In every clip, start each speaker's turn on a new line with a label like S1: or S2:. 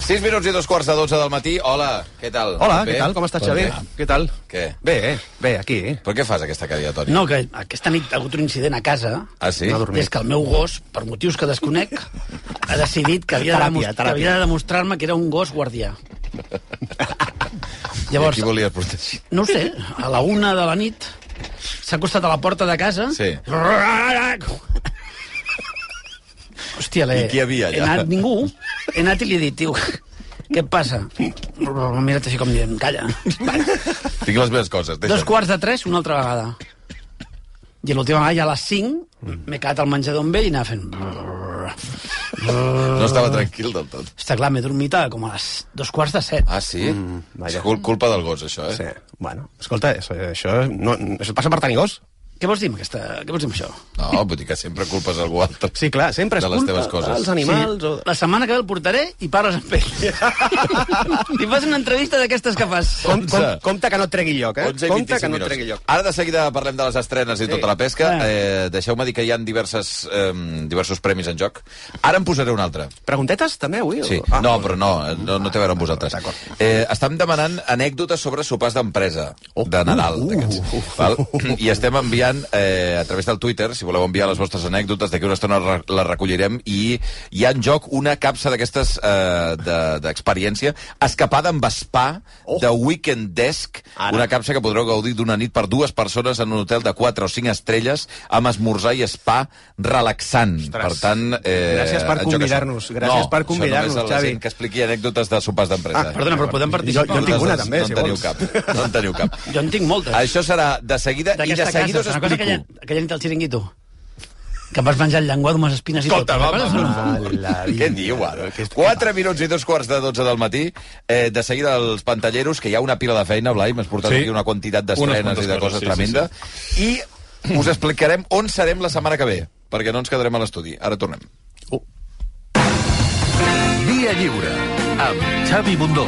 S1: 6 minuts i dos quarts de 12 del matí. Hola, què tal?
S2: Hola,
S1: Bé?
S2: què tal? Com estàs,
S1: Tot
S2: Xavi?
S1: bé?
S2: Què tal?
S1: Què?
S2: Bé, bé, aquí. eh?
S1: Però què fas aquesta cadira, Toni?
S3: No, que aquesta nit ha hagut un incident a casa.
S1: Ah, sí?
S2: No, dormit.
S3: És que el meu gos, per motius que desconec, ha decidit que havia de,
S2: Teràpia,
S3: demos- que
S2: teràpia.
S3: havia de demostrar-me que era un gos guardià.
S1: I
S3: Llavors,
S1: qui volies protegir?
S3: no ho sé, a la una de la nit s'ha acostat a la porta de casa...
S1: Sí.
S3: Hòstia, l'he...
S1: I qui hi havia allà?
S3: He anat ningú. He anat i li he dit, tio, què et passa? M'ha mirat així com dient, calla.
S1: Tinc les meves coses,
S3: Dos
S1: deixa'm.
S3: quarts de tres, una altra vegada. I l'última vegada, ja a les cinc,
S1: Mm.
S3: m'he quedat al menjador amb ell i anava fent...
S1: No estava tranquil del tot.
S3: Està clar, m'he dormit a com a les dos quarts de set.
S1: Ah, sí? Mm,
S2: vaja.
S1: és cul culpa del gos, això, eh?
S2: Sí. Bueno, escolta, això, això, no, això passa per tenir gos.
S3: Què vols dir amb aquesta... Què vols dir amb això?
S1: No, vull dir que sempre culpes algú altre.
S2: Sí, clar, sempre és
S1: De les
S2: culpa
S1: teves coses.
S2: dels animals. Sí.
S3: La setmana que ve el portaré i parles amb ell. Li fas una entrevista d'aquestes que fas.
S2: O... Com, com,
S1: Onze.
S2: compte que no et tregui lloc, eh?
S1: 11 i
S2: Compte
S1: 25
S2: que no et
S1: minuts.
S2: tregui lloc. Ah.
S1: Ara de seguida parlem de les estrenes i tota la pesca.
S3: Bueno.
S1: Eh, Deixeu-me dir que hi ha diverses, eh, diversos premis en joc. Ara en posaré un altre.
S2: Preguntetes també avui? o-
S1: Sí. Ah, no, però no, eh, no, no té a veure amb vosaltres.
S2: D'acord.
S1: Eh, estem demanant anècdotes sobre sopars d'empresa de Nadal.
S2: uh,
S1: d'aquests,
S2: uh, uh,
S1: val? I estem enviant eh, a través del Twitter, si voleu enviar les vostres anècdotes, d'aquí una estona re- les recollirem i hi ha en joc una capsa d'aquestes eh, de- d'experiència escapada amb spa de Weekend Desk,
S2: Oh. Ara.
S1: una capsa que podreu gaudir d'una nit per dues persones en un hotel de 4 o 5 estrelles amb esmorzar i spa relaxant.
S2: Ostres.
S1: Per tant, eh,
S2: Gràcies per
S1: en joc això.
S2: convidar-nos, gràcies
S1: no,
S2: per
S1: això només
S2: convidar-nos,
S1: a la gent
S2: Xavi.
S1: que expliqui anècdotes de sopars d'empresa.
S2: Ah,
S3: Perdona, però podem participar?
S2: Jo- jo en tinc una, també,
S1: no
S2: si
S1: en teniu
S2: vols.
S1: cap. No en teniu cap.
S3: Jo en tinc moltes.
S1: Això serà de seguida i de
S3: D'aquesta casa.
S1: seguida us
S3: Una cosa
S1: explico.
S3: aquella, aquella nit al xiringuito. Que em vas menjar el llenguado amb les espines i
S1: Escolta,
S3: tot.
S1: va,
S3: Te'n
S1: va,
S3: recordes o no?
S1: va, va. Què diu, ara? 4 minuts i dos quarts de 12 del matí. Eh, de seguida els pantalleros, que hi ha una pila de feina, Blai, m'has portat
S4: Sí.
S1: aquí una quantitat d'estrenes
S4: quantes
S1: i de
S4: coses,
S1: coses
S4: sí, sí,
S1: tremenda. I us explicarem on serem la setmana que ve, perquè no ens quedarem a l'estudi. Ara tornem.
S5: Via Lliure, amb Xavi Bundó.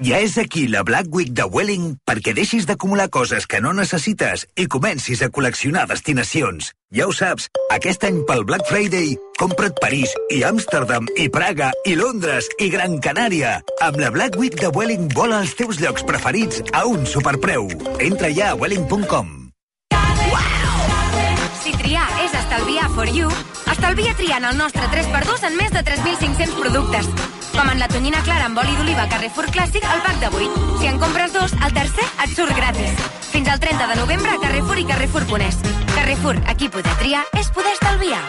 S6: Ja és aquí la Black Week de Welling perquè deixis d'acumular coses que no necessites i comencis a col·leccionar destinacions. Ja ho saps, aquest any pel Black Friday compra't París i Amsterdam i Praga i Londres i Gran Canària. Amb la Black Week de Welling vola els teus llocs preferits a un superpreu. Entra ja a welling.com.
S7: Si triar és estalviar for you, estalvia triant el nostre 3x2 en més de 3.500 productes. Com en la tonyina clara amb oli d'oliva Carrefour Clàssic al pack de 8. Si en compres dos, el tercer et surt gratis. Fins al 30 de novembre a Carrefour i Carrefour Conés. Carrefour, aquí poder triar és poder estalviar.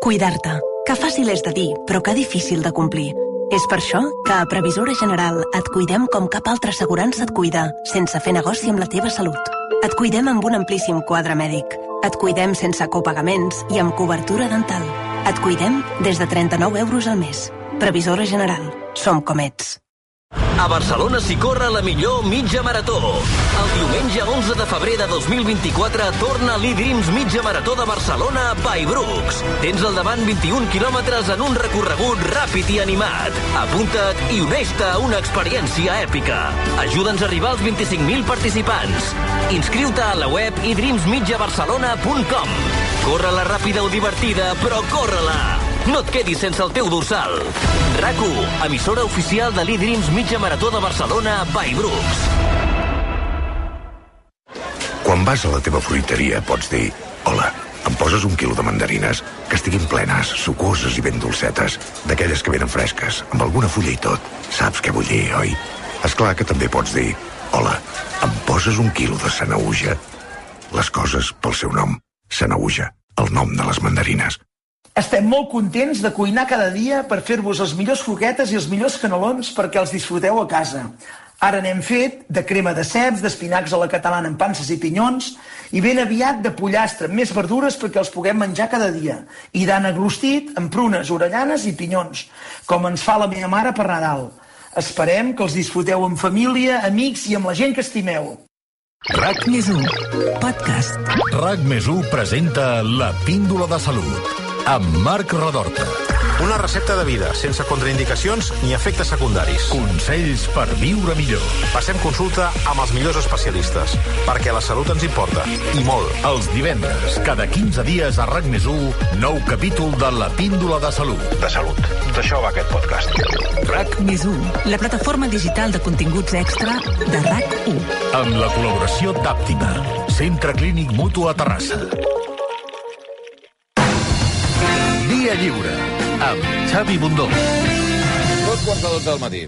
S8: Cuidar-te. Que fàcil és de dir, però que difícil de complir. És per això que a Previsora General et cuidem com cap altra assegurança et cuida, sense fer negoci amb la teva salut. Et cuidem amb un amplíssim quadre mèdic. Et cuidem sense copagaments i amb cobertura dental. Et cuidem des de 39 euros al mes. Previsora General. Som com ets.
S5: A Barcelona s'hi corre la millor mitja marató. El diumenge 11 de febrer de 2024 torna l'e-Dreams mitja marató de Barcelona by Brooks. Tens al davant 21 quilòmetres en un recorregut ràpid i animat. Apunta't i uneix-te a una experiència èpica. Ajuda'ns a arribar als 25.000 participants. Inscriu-te a la web idreamsmitjabarcelona.com. Corre-la ràpida o divertida, però corre-la! No et quedis sense el teu dorsal. RAC1, emissora oficial de l'e-Dreams Mitja Marató de Barcelona by Brooks.
S6: Quan vas a la teva fruiteria pots dir Hola, em poses un quilo de mandarines que estiguin plenes, sucoses i ben dolcetes, d'aquelles que venen fresques, amb alguna fulla i tot. Saps què vull dir, oi? És clar que també pots dir Hola, em poses un quilo de sanauja? Les coses pel seu nom. Sanauja, el nom de les mandarines.
S9: Estem molt contents de cuinar cada dia per fer-vos els millors croquetes i els millors canelons perquè els disfruteu a casa. Ara n'hem fet de crema de ceps, d'espinacs a la catalana amb panses i pinyons i ben aviat de pollastre amb més verdures perquè els puguem menjar cada dia. I d'ànec rostit amb prunes, orellanes i pinyons, com ens fa la meva mare per Nadal. Esperem que els disfruteu en família, amics i amb la gent que estimeu.
S5: RAC
S8: Més un. Podcast.
S4: RAC més 1 presenta La Píndola de Salut amb Marc Redorta. Una recepta de vida, sense contraindicacions ni efectes secundaris.
S10: Consells per viure millor.
S4: Passem consulta amb els millors especialistes, perquè la salut ens importa, i molt.
S10: Els divendres, cada 15 dies a RAC més 1, nou capítol de La Píndola de Salut.
S4: De salut. D'això va aquest podcast.
S10: RAC
S8: Més 1, la plataforma digital de continguts extra de RAC1.
S10: amb la col·laboració d'Àptima, Centre Clínic Mutu a Terrassa. Dia Lliure, amb Xavi Bundó.
S1: Dos quarts de dotze del matí.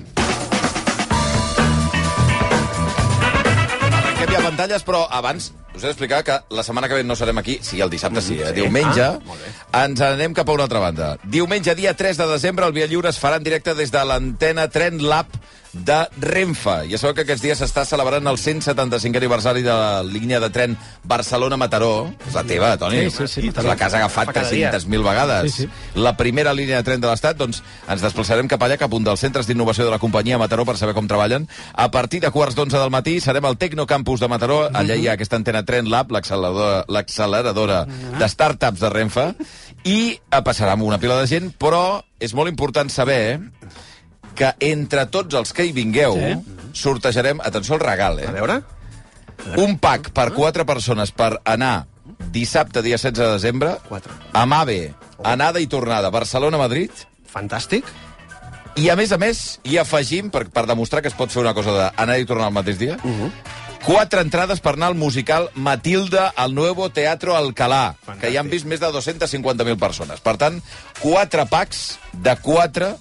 S1: Arrenquem ja pantalles, però abans us he d'explicar que la setmana que ve no serem aquí, sí, el dissabte sí, eh? diumenge, ens anem cap a una altra banda. Diumenge, dia 3 de desembre, el Via Lliure es farà en directe des de l'antena Tren Lab de Renfe. Ja sabeu que aquests dies s'està celebrant el 175 aniversari de la línia de tren Barcelona-Mataró. És la teva, Toni.
S3: Sí, sí, sí,
S1: És la que has agafat
S2: Cada dia.
S1: 300 mil vegades.
S3: Sí, sí.
S1: La primera línia de tren de l'Estat, doncs ens desplaçarem cap allà, cap a un dels centres d'innovació de la companyia a Mataró per saber com treballen. A partir de quarts d'onze del matí serem al Tecnocampus de Mataró. Allà hi ha aquesta antena Tren Lab, l'acceleradora l'acceleradora
S3: Ah.
S1: de startups de Renfe. I eh, passarà amb una pila de gent, però és molt important saber que entre tots els que hi vingueu
S3: Sí.
S1: sortejarem, atenció al regal, eh?
S2: A veure?
S1: Un pack per quatre persones per anar dissabte, dia 16 de desembre,
S2: Quatre.
S1: a Mave, anada i tornada, Barcelona-Madrid,
S2: Fantàstic.
S1: i a més a més hi afegim, per, per demostrar que es pot fer una cosa d'anar i tornar al mateix dia, uh
S2: Mhm.
S1: -huh. quatre entrades per anar al musical Matilda al Nuevo Teatro Alcalá, Fantàstic. que hi han vist més de 250.000 persones. Per tant, quatre packs de quatre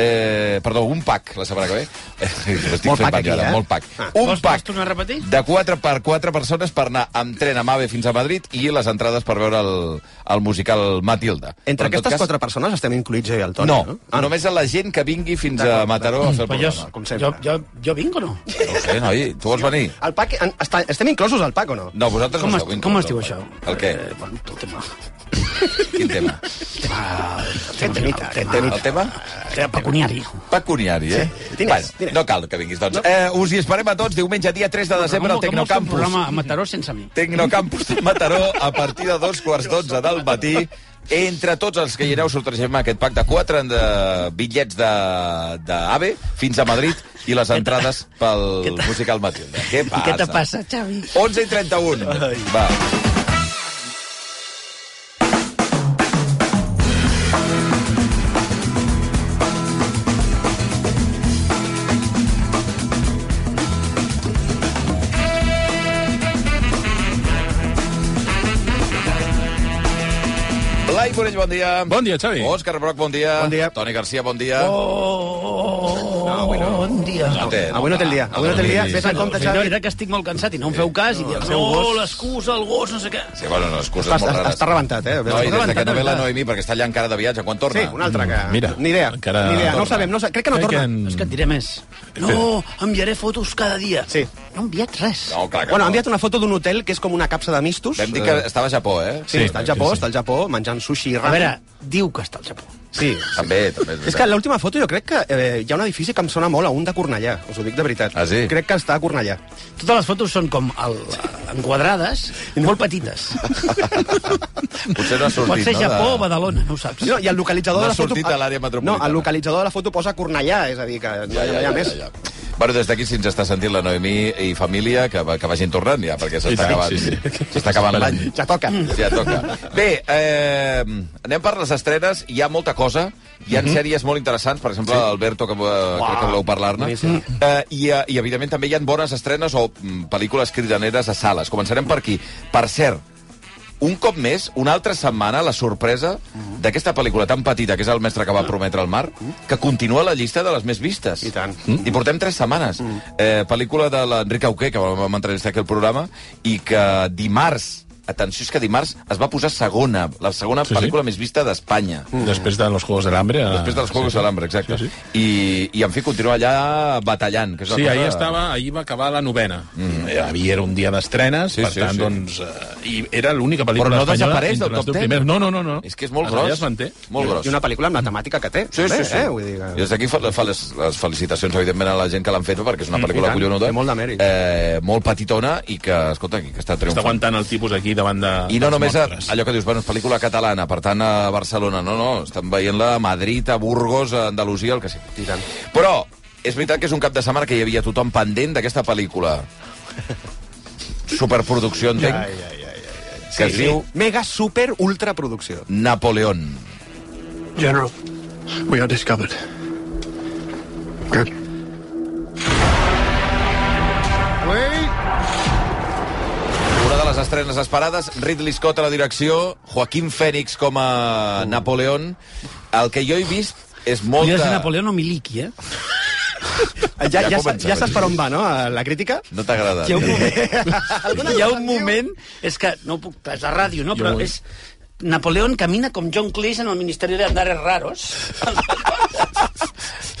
S1: Eh, perdó, un pack la setmana que ve. Estic
S2: Molt
S1: fent
S2: pack aquí,
S1: pack, ara,
S2: eh?
S1: Molt pack.
S2: Ah.
S1: Un
S3: Vols,
S1: pack
S3: vols tornar a repetir?
S1: de 4 per 4 persones per anar amb tren a Mave fins a Madrid i les entrades per veure el, el musical Matilda.
S2: Entre
S1: Però en tot
S2: aquestes quatre persones estem incluïts jo i el Toni,
S1: No,
S2: no?
S1: ah, només a la gent que vingui fins a
S2: D'acord,
S1: Mataró a fer el
S3: Però jo,
S1: programa.
S2: com
S3: jo,
S2: sempre.
S3: jo, jo vinc o no?
S1: No ho sé, noi, tu vols venir?
S2: El PAC, en, està, estem inclosos al PAC o no?
S1: No, vosaltres
S3: Com,
S1: no
S3: es,
S1: esteu
S3: com
S1: inclosos.
S3: es diu això?
S1: El què?
S3: Eh, bueno, el tema.
S1: Quin tema?
S2: Aquest temita, aquest temita.
S1: El tema?
S3: El tema pecuniari.
S1: Pecuniari, eh?
S2: Sí, diners, diners.
S1: no cal que vinguis, doncs. Eh, us hi esperem a tots diumenge, dia 3 de desembre, al
S3: Com vols fer un
S1: Tecnocampus.
S3: programa a Mataró sense mi?
S1: Tecnocampus de Mataró a partir de dos quarts d'onze del matí. Entre tots els que hi aneu sortegem aquest pack de quatre de bitllets d'AVE de, AVE fins a Madrid i les entrades pel musical Matilda. Què passa?
S3: Què te passa, Xavi?
S1: 11 i 31. Va. Blai Morell, bon dia.
S11: Bon dia, Xavi.
S1: Òscar Broc, bon dia.
S2: Bon dia.
S1: Toni Garcia, bon dia.
S3: Oh, bon dia.
S1: No té,
S2: Avui no té el dia, avui no té el dia.
S1: Sí,
S2: Fes el compte,
S3: Fins no,
S2: Xavi.
S3: era que estic molt cansat i no em feu cas i dieu,
S2: seu
S3: no,
S2: gos-
S3: l'excusa, el gos, no sé què.
S1: Sí, bueno, no, excuses
S2: Estàs-
S1: molt rares.
S2: estàs rebentat, eh?
S1: No, i des de que no ve la Mm,
S3: Rebentat.
S1: Noemi, perquè està allà encara de viatge, quan torna?
S2: Sí, un altre que...
S11: Mira,
S2: ni idea,
S11: encara
S2: ni idea. No ho
S11: torna.
S2: sabem, no ho sa- crec que no
S11: Crec que
S2: torna.
S11: en-
S3: És que et diré més. No, enviaré fotos cada dia.
S2: Sí.
S3: No he enviat res.
S1: No, clar que
S2: Bueno, ha
S1: no.
S2: enviat una foto d'un hotel que és com una capsa de mistos.
S1: Vam dir que estava a Japó, eh?
S2: Sí,
S11: Sí,
S2: està al
S11: sí,
S2: Japó,
S11: sí.
S2: està al Japó, menjant sushi i
S3: A
S2: ramen.
S3: veure, diu que està al Japó.
S2: Sí.
S1: També, també.
S2: És que l'última foto jo crec que eh, hi ha un edifici que em sona molt a un de Cornellà, us ho dic de veritat.
S1: Ah, sí?
S2: Crec que està a Cornellà.
S3: Totes les fotos són com el, enquadrades, molt petites.
S1: Potser no ha sortit,
S3: Pot ser
S1: no,
S3: Japó
S1: de-
S3: o Badalona, no ho saps.
S2: No, I el localitzador
S1: No
S2: de
S1: ha
S2: la foto...
S1: sortit de l'àrea metropolitana.
S2: No, el localitzador de la foto posa Cornellà, és a dir, que no, hi ha més.
S1: Bueno, des d'aquí, si ens està sentint la Noemí i família, que, va- que vagin tornant ja, perquè s'està
S11: I tant,
S1: acabant,
S11: sí, sí.
S1: s'està acabant l'any.
S2: Ja toca.
S1: Ja toca. Bé, eh, anem per les estrenes. Hi ha molta cosa. Hi
S11: Mhm.
S1: ha sèries molt interessants, per exemple, sí. Alberto, que eh, crec que voleu parlar-ne.
S2: Boníssim.
S1: Eh, i, eh, I, evidentment, també hi ha bones estrenes o mm, pel·lícules cridaneres a sales. Començarem per aquí. Per cert, un cop més, una altra setmana, la sorpresa
S11: Mhm.
S1: d'aquesta pel·lícula tan petita, que és El mestre que va prometre el mar, que continua a la llista de les més vistes.
S2: I tant.
S1: Mm. I portem tres setmanes. Eh, pel·lícula de l'Enric Auqué, que vam entrevistar aquí al programa, i que dimarts, atenció, és que dimarts es va posar segona, la segona sí,
S11: Sí, sí.
S1: pel·lícula més vista d'Espanya.
S11: Després de los Juegos del Hambre... A...
S1: Després dels Juegos sí, sí. de l'Hambre, exacte.
S11: Sí,
S1: Sí,
S11: sí.
S1: sí. I, I, en fi, continua allà batallant. Que és una
S11: Sí,
S1: cosa...
S11: ahir estava, ahir va acabar la novena. Mm. Havia era un dia d'estrenes,
S1: Sí,
S11: per
S1: sí,
S11: tant,
S1: sí.
S11: doncs... Eh, I era l'única pel·lícula
S1: Però no
S11: espanyola
S1: desapareix
S11: entre
S1: del
S11: les
S1: top
S11: deu
S1: 10.
S11: primeres. No, no, no, no.
S1: És que és molt
S11: Es-
S1: gros.
S11: Ja es manté.
S1: Molt gros.
S2: I una pel·lícula amb la temàtica que té.
S1: Sí, sí,
S2: també,
S1: sí.
S2: Eh? Vull dir que...
S1: I des d'aquí fa, fa les, les felicitacions, evidentment, a la gent que l'han fet, perquè és una pel·lícula
S2: i tant,
S1: collonuda.
S2: té molt de mèrit.
S1: Eh, molt petitona i que, escolta, que està
S11: Està
S1: triomfant.
S11: aguantant el tipus aquí davant de...
S1: I no només a, allò que dius, bueno, és pel·lícula catalana, per tant a Barcelona, no, no, estan veient-la a Madrid, a Burgos, a Andalusia, el que sigui. Però és veritat que és un cap de setmana que hi havia tothom pendent d'aquesta pel·lícula. Superproducció, entenc.
S2: Ja,
S1: Que es diu
S2: Mega super ultra producció.
S1: Napoleón.
S12: General, we are discovered. Good.
S1: Una de les estrenes esperades, Ridley Scott a la direcció, Joaquín Fènix com a Napoleón. El que jo he vist és
S3: Molta... Jo de
S1: molta...
S3: Napoleó no Miliki, eh?
S2: Ja, ja,
S1: Ja
S2: ja,
S1: començava,
S2: ja saps per on va, no, la crítica?
S1: No t'ha agradat.
S3: Hi ha un
S2: Alguna
S3: moment... Hi ha
S2: cosa
S3: un moment... És que no ho puc... És la ràdio, no?
S11: Jo
S3: Però
S11: vull.
S3: és... Napoleón camina com John Cleese en el Ministeri de Andares Raros.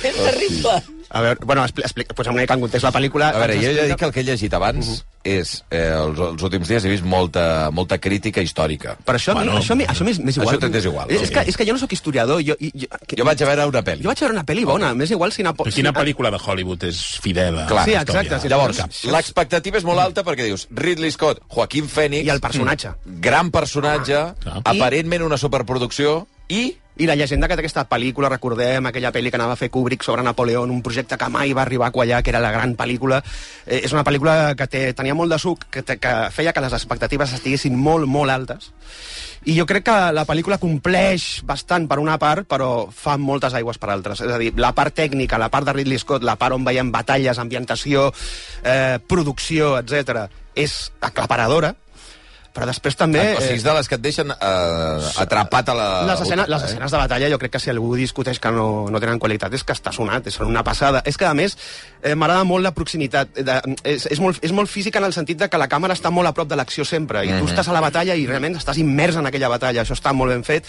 S3: és terrible.
S2: A veure, bueno, expli- explica, posa'm una mica en context la pel·lícula.
S1: A veure,
S2: ens
S1: jo ja
S2: explica-
S1: dic que el que he llegit abans
S2: Uh-huh.
S1: és... Eh, els, els últims dies he vist molta, molta crítica històrica.
S2: Però això, bueno,
S1: Bueno,
S2: això, a mi- això m'és m'és igual.
S1: Això t'és igual.
S2: És, és, que, és que jo no sóc historiador. Jo, i- jo, que,
S1: Jo vaig a veure una pel·li.
S2: jo vaig veure una pel·li bona, m'és igual si... Napo...
S11: Però
S2: si
S11: quina
S2: na-
S11: pel·lícula de Hollywood és fidel a
S1: Clar,
S2: Sí,
S11: la
S2: exacte,
S11: història?
S2: sí.
S1: Llavors,
S2: Això és-
S1: l'expectativa és molt alta perquè dius Ridley Scott, Joaquín Phoenix... mm,
S2: I el personatge.
S1: Gran personatge,
S11: Ah, clar.
S1: aparentment una superproducció, i...
S2: I la llegenda que té aquesta pel·lícula, recordem, aquella pel·li que anava a fer Kubrick sobre Napoleó, un projecte que mai va arribar a quallar, que era la gran pel·lícula. Eh, és una pel·lícula que té, tenia molt de suc, que, te, que feia que les expectatives estiguessin molt, molt altes. I jo crec que la pel·lícula compleix bastant per una part, però fa moltes aigües per altres. És a dir, la part tècnica, la part de Ridley Scott, la part on veiem batalles, ambientació, eh, producció, etc és aclaparadora, però després també...
S1: Eh, o sigui, és de les que et deixen eh, atrapat a la...
S2: Les escenes,
S1: butaca,
S2: les
S1: eh?
S2: escenes de batalla, jo crec que si algú discuteix que no, no tenen qualitat, és que està sonat, és una passada. És que, a més, eh, m'agrada molt la proximitat. eh, De, és, és, molt, és molt física en el sentit de que la càmera està molt a prop de l'acció sempre, i mm -hmm.
S1: Mhm.
S2: tu estàs a la batalla i realment estàs immers en aquella batalla. Això està molt ben fet.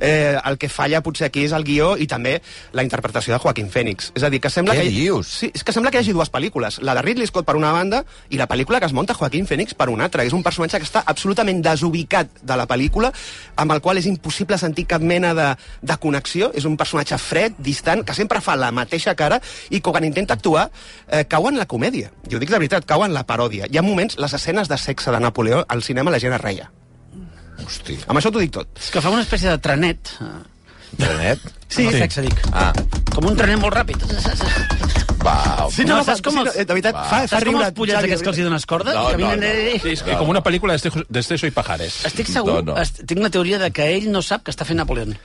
S2: Eh, el que falla potser aquí és el guió i també la interpretació de Joaquín Phoenix. És a dir, que sembla
S1: Què
S2: que... hi-
S1: dius?
S2: Sí, és que sembla que hi hagi dues pel·lícules, la de Ridley Scott per una banda i la pel·lícula que es munta Joaquín Phoenix per una altra. És un personatge que està absolutament desubicat de la pel·lícula, amb el qual és impossible sentir cap mena de, de connexió. És un personatge fred, distant, que sempre fa la mateixa cara i que quan intenta actuar eh, cau en la comèdia. Jo dic de veritat, cau en la paròdia. Hi ha moments, les escenes de sexe de Napoleó al cinema la gent es reia.
S1: Hosti,
S2: Amb això t'ho dic tot.
S3: És que fa una espècie de trenet. eh,
S1: Trenet?
S3: Sí. En el sexe, dic.
S1: Ah,
S3: Com un trenet molt ràpid.
S1: va...
S3: Sí, no, saps com
S2: sí,
S3: els-
S2: eh, de veritat,
S1: Va.
S2: fa, fa
S3: Saps com
S2: riure.
S3: els pollets
S2: Xavi,
S3: aquests que els hi dones corda?
S1: No,
S3: Caminen
S1: no, no.
S3: eh, eh, eh.
S11: Sí, és com una pel·lícula d'Estejo- d'Estejo i Pajares.
S3: Estic segur,
S1: No,
S3: no,
S1: no.
S3: no. tinc la teoria de que ell no sap que està fent Napoleón.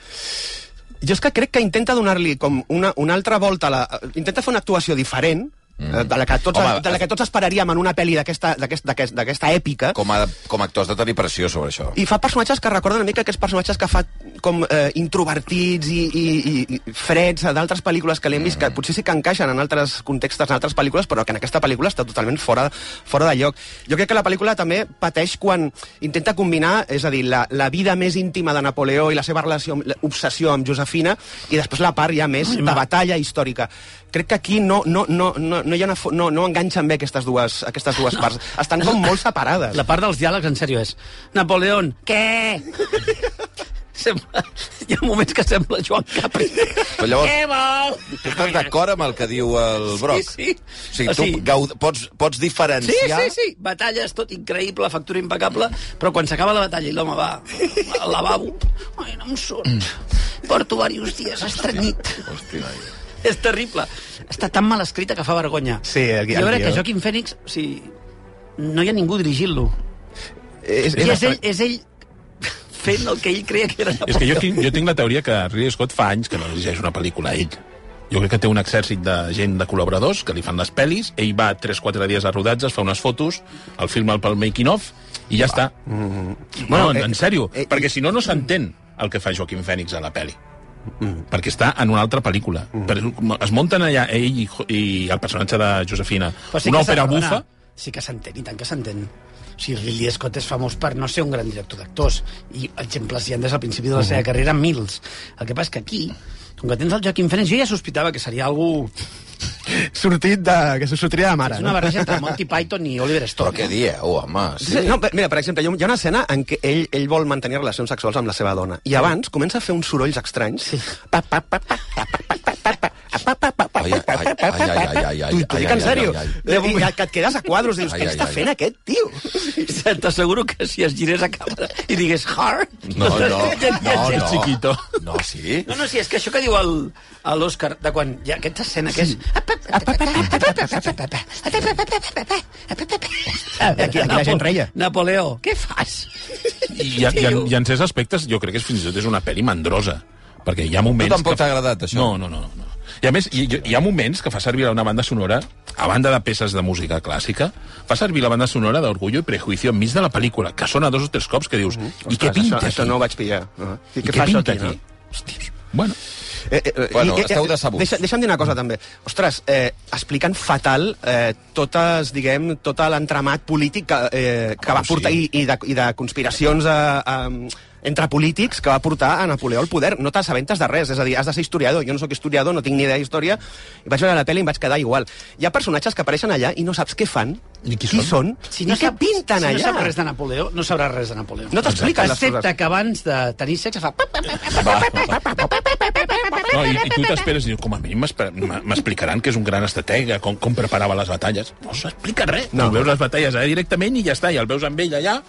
S2: Jo és que crec que intenta donar-li com una, una altra volta, a la, intenta fer una actuació diferent, mm. de, la que tots,
S1: Home,
S2: Home, de la que tots esperaríem en una pel·li d'aquesta d'aquest- d'aquest- d'aquesta èpica, com...
S1: Com a, com a actors de tenir pressió sobre això.
S2: i fa personatges que recorden una mica aquests personatges que fa com eh, introvertits i, i, i- i freds a d'altres pel·lícules que l'hem vist,
S3: Mm.
S2: que potser sí que encaixen en altres contextes, en altres pel·lícules, però que en aquesta pel·lícula està totalment fora, fora de lloc. Jo crec que la pel·lícula també pateix quan intenta combinar, és a dir, la, la vida més íntima de Napoleó i la seva relació, amb- obsessió amb Josefina, i després la part ja més de batalla històrica. Crec que aquí no, no, no, no, no, hi ha una, fo- no, no enganxen bé aquestes dues, aquestes dues parts. Estan com molt separades.
S3: La part dels diàlegs, en sèrio, és... Napoleón, què? sembla... Hi ha moments que sembla Joan Capri.
S1: Però llavors-
S3: Què vol?
S1: Tu estàs d'acord amb el que diu el Broc?
S3: Sí, sí.
S1: O sigui,
S3: O
S1: tu
S3: sigui-
S1: gaud... pots, pots
S3: Sí,
S1: diferenciar...
S3: sí, sí. Batalles, tot increïble, factura impecable, però quan s'acaba la batalla i l'home va al lavabo... Ai, no em surt. Porto diversos dies estrenyit.
S1: Hosti, noi.
S3: És terrible. Està tan mal escrita que fa vergonya.
S2: Sí, el gui-
S3: Jo
S2: el
S3: crec que
S2: guió.
S3: Joaquim Fènix, o sigui, no hi ha ningú dirigint-lo.
S2: És,
S3: I és ell, és ell fent el que ell creia que era
S11: És que jo, tinc, jo tinc la teoria que Ridley Scott fa anys que no dirigeix una pel·lícula ell. Jo crec que té un exèrcit de gent de col·laboradors que li fan les pel·lis, ell va 3-4 dies a rodatges, fa unes fotos, el filma pel making of i ja està. Bueno, no, en, en sèrio,
S2: Mm-hmm. eh,
S11: perquè si no, no s'entén el que fa Joaquim Fènix a la pel·li.
S2: Mm-hmm.
S11: Mm. perquè està en una altra pel·lícula. Mm. Per, es munten allà ell i, jo- i el personatge de Josefina
S3: Però
S11: una
S3: que
S11: òpera
S3: s'ha-
S11: bufa,
S3: perdona, Sí que s'entén, i tant que s'entén. O sigui, Ridley Scott és famós per no ser un gran director d'actors, i exemples hi ha des del principi
S5: Mhm.
S3: de la seva carrera mils. El que passa és que aquí, com que tens el Joaquim Fènix, jo ja sospitava que seria algú...
S2: sortit de... que s'ho sortiria de mare.
S3: És una barreja entre Monty Python i Oliver
S1: Però
S3: Stone.
S1: què dieu, home?
S2: Sí.
S1: Sí.
S2: No, pe- mira, per exemple, hi ha un- hi ha una escena en què ell, ell vol mantenir relacions sexuals amb la seva dona i abans comença a fer uns sorolls estranys. Sí. Pa, pa, pa, pa, pa, pa, pa, pa, pa, pa, pa, pa, pa, pa, pa,
S1: ai, ai, ai, ai, ai, ai, ai,
S2: T'ho t'ho
S1: ai,
S2: dic
S1: ai,
S2: en sèrio.
S1: ai, ai, ai.
S2: I que- que et quedes a quadros, dius,
S1: Ai,
S2: què
S1: ai,
S2: està
S1: ai,
S2: fent
S1: ai.
S2: aquest tio?
S5: T'asseguro que si es girés a càmera i digués Doncs hard...
S1: No, no, no, no.
S11: Chiquito.
S1: No, sí?
S5: No, no, sí, és que això que diu el- a l'Òscar, de quan hi ha aquesta escena que és...
S2: Aquí- aquí la gent reia.
S5: Napoleó, què fas?
S11: I, hi ha, hi ha, hi ha en certs aspectes, jo crec que és fins i tot és una pel·li mandrosa, perquè hi ha moments...
S1: Tu tampoc
S11: que fa-
S1: t'ha agradat, això?
S11: No, no, no. no. I a més, hi, hi ha moments que fa servir una banda sonora, a banda de peces de música clàssica, fa servir la banda sonora d'Orgullo i Prejuicio enmig de la pel·lícula, que sona dos o tres cops que dius,
S1: Mm-hmm.
S11: i què
S2: Ostres,
S11: pinta
S2: això, això
S11: aquí?
S2: no ho vaig pillar. No.
S11: I què
S2: fa això
S11: pinta
S2: no?
S11: aquí? Hòstia, bueno,
S2: Eh, eh,
S1: Bueno,
S2: i-
S1: esteu decebuts.
S2: Deixa, deixa'm dir una cosa, també. Ostres, eh, expliquen fatal eh, totes, diguem, tot l'entramat polític que, eh, que va
S11: sí.
S2: portar, i, i, de, i de conspiracions a, a, entre polítics que va portar a Napoleó al poder. No t'assabentes de res, és a dir, has de ser historiador. Jo no sóc historiador, no tinc ni idea d'història. I vaig veure la pel·li i em vaig quedar igual. Hi ha personatges que apareixen allà i no saps què fan,
S11: I qui
S2: són,
S11: són?
S2: si no i què
S3: sap-
S2: pinten
S3: si
S2: allà.
S3: no sap res de Napoleó, no sabrà res de Napoleó.
S2: No t'expliquen les
S3: Excepte
S2: coses.
S3: que abans de tenir sexe fa... pap, pap, pap, pap,
S11: va, va, va. No, i, i tu t'esperes i dius, com a mínim m'esper- m'a- m'explicaran que és un gran estratega, com, com preparava les batalles. No s'explica res.
S2: No.
S11: No. Tu veus les batalles allà directament i ja està, i el veus amb ell allà.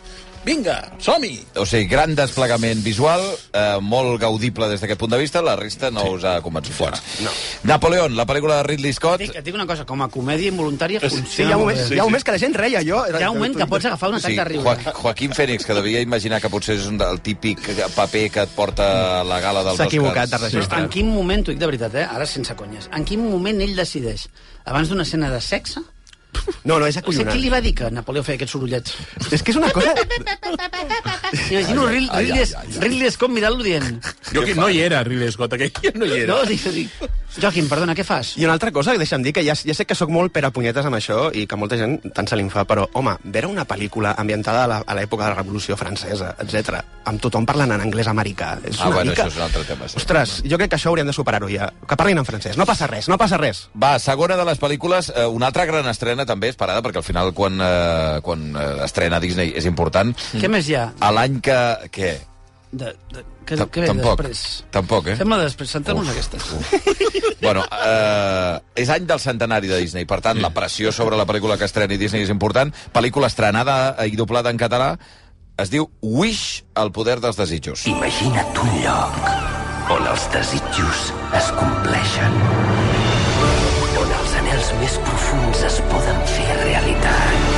S11: Vinga, som-hi!
S1: O sigui, gran desplegament visual, eh, molt gaudible des d'aquest punt de vista, la resta no sí. us ha convençut. Fora. No. Napoleón, la pel·lícula de Ridley Scott...
S3: Et dic, et dic una cosa, com a comèdia involuntària funciona
S2: Sí, hi ha moments,
S3: molt
S2: hi
S3: bé.
S2: ha moments que la gent reia, jo...
S3: Hi ha un moment que pots agafar un atac de riure.
S1: Joa Joaquín Fènix, que devia imaginar que potser és un, del típic paper que et porta a la gala dels
S2: S'ha
S1: Oscars.
S2: equivocat de
S3: Però
S2: registre.
S3: en quin moment, t'ho dic de veritat, eh? ara sense conyes, en quin moment ell decideix, abans d'una escena de sexe,
S2: No, no, és
S3: o sigui,
S2: acollonant.
S3: qui li va dir que Napoleó feia aquests sorollets?
S2: És que és una cosa...
S3: Imagino
S1: Ai, ai,
S3: Rid-
S1: ai,
S3: Ridley
S1: ai, ai, ai.
S3: Ridley Scott mirant-lo dient...
S11: Jo que no hi era, Ridley Scott, aquell dia no hi
S3: No,
S11: era.
S3: dic, dic, Joaquim, perdona, què fas?
S2: I una altra cosa, que deixa'm dir, que ja, ja sé que sóc molt per a punyetes amb això i que molta gent tant se li fa, però, home, veure una pel·lícula ambientada a la- a l'època de la Revolució Francesa, etc, amb tothom parlant en anglès americà, és
S1: Ah,
S2: una
S1: bueno,
S2: mica...
S1: això és un altre tema. sí.
S2: Ostres, jo crec que això hauríem de superar-ho ja. Que parlin en francès. No passa res, no passa res.
S1: Va, segona de les pel·lícules, eh, una altra gran estrena també esperada, perquè al final quan, eh, quan eh, estrena Disney és important.
S3: Què més hi ha?
S1: A l'any que... Què?
S3: De, de, que,
S1: Ta-
S3: que ve
S1: tampoc.
S3: després?
S1: Tampoc, eh?
S3: Fem-la després, sentem-nos aquestes.
S1: Bueno, eh, és any del centenari de Disney, per tant, la pressió sobre la pel·lícula que estreni Disney és important. Pel·lícula estrenada i doblada en català, es diu Wish, el poder dels desitjos.
S5: Imagina't un lloc on els desitjos es compleixen. On els anels més profuns es poden fer realitat.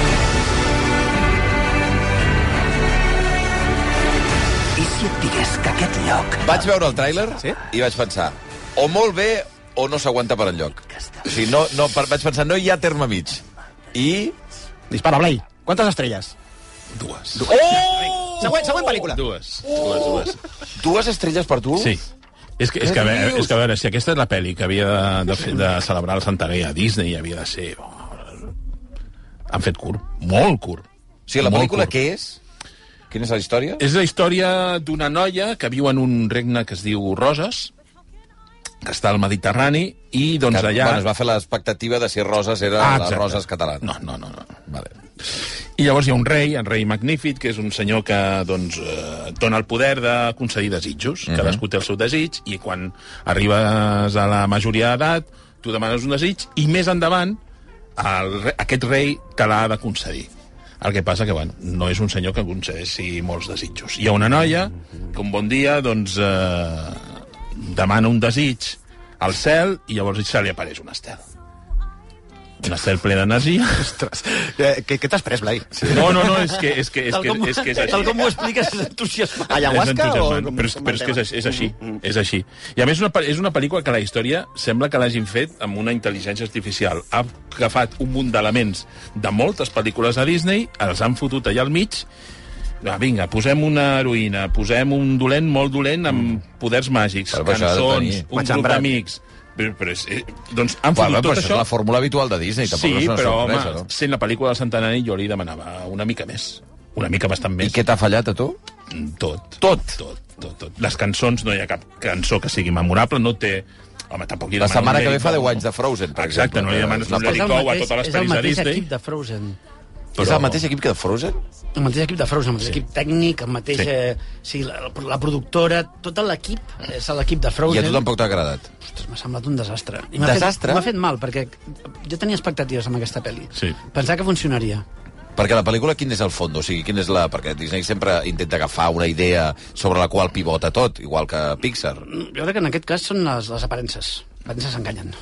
S5: I si et digués que aquest lloc
S1: Vaig veure el tràiler
S2: Sí?
S1: i vaig pensar, o molt bé o no s'aguanta per enlloc. O sigui, no, no, per, vaig pensar, no hi ha terme mig. I...
S2: Dispara, Blai. Quantes estrelles?
S11: Dues.
S1: Oh!
S2: Següent, següent pel·lícula.
S11: Dues. Dues, dues.
S1: Dues estrelles per tu?
S11: Sí. És que, és, que, a veure,
S1: dius?
S11: és que a veure, si aquesta és la pel·li que havia de, de, fer, de celebrar el centenari a Disney, havia de ser... oh, Han fet curt. Molt curt.
S1: O sigui, la
S11: Molt
S1: pel·lícula
S11: curt.
S1: què és? Quina és la història?
S11: És la història d'una noia que viu en un regne que es diu Roses, que està al Mediterrani, i doncs
S1: que,
S11: allà...
S1: bueno, es va fer l'expectativa de si Roses era ah, les
S11: exacte.
S1: Roses catalanes.
S11: No, no, no. no. Vale. I llavors hi ha un rei, en rei magnífic, que és un senyor que doncs, eh, dona el poder de concedir desitjos.
S1: Mhm.
S11: Uh -huh. Cadascú té el seu desig i quan arribes a la majoria d'edat tu demanes un desig i més endavant el, re- aquest rei te l'ha de concedir. El que passa que, bueno, no és un senyor que concedeixi molts desitjos. Hi ha una noia que un bon dia, doncs, eh, demana un desig al cel i llavors se li apareix un estel. Un estel ple d'energia
S2: Ostres, eh, què, què t'has pres, Blai?
S11: no, no, no, és que és, que, és,
S3: Tal
S11: que,
S3: com,
S11: és, que és així.
S3: tal com ho expliques, és entusiasmant.
S11: És
S2: Ayahuasca o...
S11: entusiasmant,
S2: com-
S11: Però, és,
S2: com
S11: però és
S2: el
S11: que és,
S2: tema? Mm,
S11: així, és així, Mm. és així. I a més una, pel- és una pel·lícula que la història sembla que l'hagin fet amb una intel·ligència artificial. Ha agafat un munt d'elements de moltes pel·lícules de Disney, els han fotut allà al mig, Ah, vinga, posem una heroïna, posem un dolent molt dolent amb poders màgics,
S1: Però Mm. això ha de
S11: cançons,
S1: tenir.
S11: un grup
S2: Matxembrat.
S11: d'amics... Però, però és, eh, doncs han fotut
S1: Bueno, però
S11: tot
S1: això és
S11: això...
S1: la fórmula habitual de Disney, tampoc
S11: Sí,
S1: no és una
S11: però,
S1: sorpresa,
S11: home,
S1: no?
S11: sent la pel·lícula del centenari jo li demanava una mica més. Una mica bastant més.
S1: I què t'ha fallat a tu?
S11: Tot.
S1: Tot?
S11: Tot, tot, tot. Les cançons, no hi ha cap cançó que sigui memorable, no té... Home, tampoc hi
S1: La
S11: demano
S1: setmana
S11: un
S1: que ve
S11: Lady
S1: fa
S11: Gaga.
S1: 10 anys de Frozen, per
S11: Exacte,
S1: exemple.
S11: no li demanes
S1: És una
S11: un Lady
S3: És el
S11: Gaga a
S3: mateix,
S11: totes les
S3: és el
S11: eh? pel·lis de
S3: mateix
S11: Disney.
S3: equip de Frozen.
S1: És el mateix equip que de Frozen?
S3: El mateix equip de Frozen, el mateix sí. equip tècnic, el mateix...
S1: Sí.
S3: Sí. Eh, sí, la, la productora, tot l'equip és l'equip de
S1: I
S3: Frozen.
S1: a tu tampoc t'ha agradat.
S3: Ostres, m'ha semblat un desastre. I m'ha fet-
S1: Desastre?
S3: M'ha fet mal, perquè jo tenia expectatives amb aquesta pel·li.
S1: Sí.
S3: Pensava que funcionaria.
S1: Perquè la pel·lícula, quin és el fons? O sigui, quin és la... Perquè Disney sempre intenta agafar una idea sobre la qual pivota tot, igual que Pixar.
S3: Jo crec que en aquest cas són les, les aparences. Les aparences enganyen.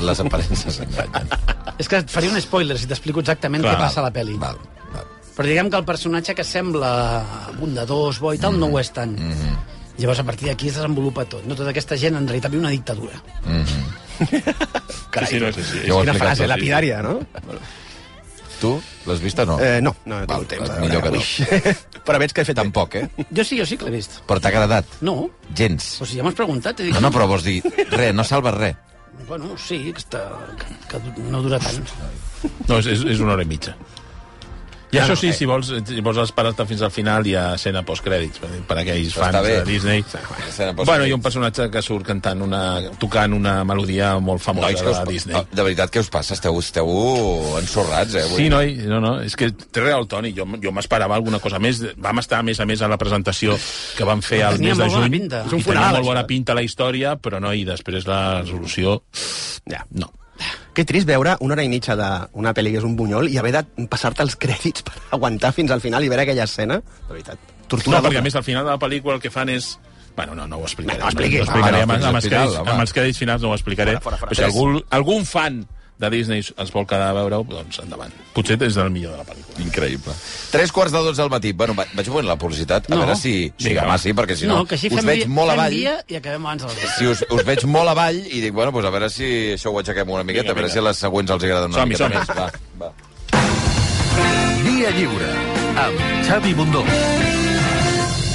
S1: Les aparences enganyen.
S3: És que et faria un spoiler si t'explico exactament
S1: Clar.
S3: què passa a la pel·li.
S1: Val,
S3: Però diguem que el personatge que sembla bondadós, bo i tal,
S1: Mhm.
S3: no ho és tant. Mm -hmm. Llavors, a partir d'aquí es desenvolupa tot. No tota aquesta gent, en realitat, viu una dictadura.
S1: Mm -hmm.
S11: Carai, sí, sí, no, sí, sí.
S1: Ja ho he explicat, sí.
S2: no?
S1: Tu l'has vist o no?
S2: Eh, no, no, no
S1: Val,
S2: tinc temps. de
S1: millor que
S2: veure-la
S1: no.
S2: avui. Però veig que he fet...
S1: Tampoc, eh?
S3: Jo sí, jo sí que l'he vist.
S1: Però t'ha agradat?
S3: No,
S1: Gens.
S3: o sigui, ja m'has preguntat. He dit,
S1: No, no, però vols dir, res, no salva res.
S3: Bueno, sí, que, està, que, que no dura tant.
S11: No, és, és, és una hora i mitja. I
S3: Ah,
S11: això
S3: no,
S11: sí,
S3: eh.
S11: si vols, si vols esperar-te fins al final hi ha escena postcrèdits per, per aquells
S1: Està
S11: fans
S1: bé.
S11: de Disney.
S1: Escena postcrèdits.
S11: Bueno, hi ha un personatge que surt cantant una, tocant una melodia molt famosa
S1: Nois,
S11: de
S1: us,
S11: Disney.
S1: pa- de veritat, què us passa? Esteu, esteu ensorrats, eh? Ah, avui?
S11: Sí, noi, no, no, és que té real, Toni, jo, jo m'esperava alguna cosa més. Vam estar, a més a més, a la presentació que vam fer
S2: Ah,
S11: al
S3: Tenia
S11: mes de
S3: molt bona
S11: juny.
S3: pinta. És un
S11: I tenia
S3: funeral,
S11: molt
S3: això.
S11: bona pinta la història, però, noi, després la resolució...
S2: Ja.
S11: No.
S2: Que trist veure una hora i mitja d'una pel·li que és un bunyol i haver de passar-te els crèdits per aguantar fins al final i veure aquella escena. De veritat. tota- Tortura.
S11: No, perquè a més al final de la pel·lícula el que fan és... Bueno, no, no ho explicaré.
S2: No, no expliquis.
S11: ho explicaré
S2: Ah,
S11: amb,
S2: no,
S11: amb, els
S2: fins al final,
S11: crèdits,
S2: home.
S11: amb els crèdits finals no ho explicaré.
S2: Fora, fora, fora.
S11: Però si
S2: Tres.
S11: algun, algun fan de Disney es vol quedar a veure-ho, doncs endavant. Potser és el millor de la pel·lícula.
S1: Increïble. Tres quarts de dotze del matí. Bueno, va- vaig veient la publicitat, a
S11: No.
S1: veure si... Sí,
S11: Vinga.
S1: home, sí, perquè si no,
S3: que així
S1: us
S3: fem,
S1: veig
S3: dia,
S1: molt
S3: fem
S1: avall.
S3: dia i acabem abans de les dues.
S1: Si us, us veig molt avall i dic, bueno, doncs a veure si això ho aixequem una miqueta,
S11: Vinga,
S1: a veure
S11: vinga.
S1: si a les següents els agraden una
S11: Som-hi,
S1: miqueta
S11: som-hi.
S1: més. Va, va.
S10: Via lliure, amb Xavi Bundó.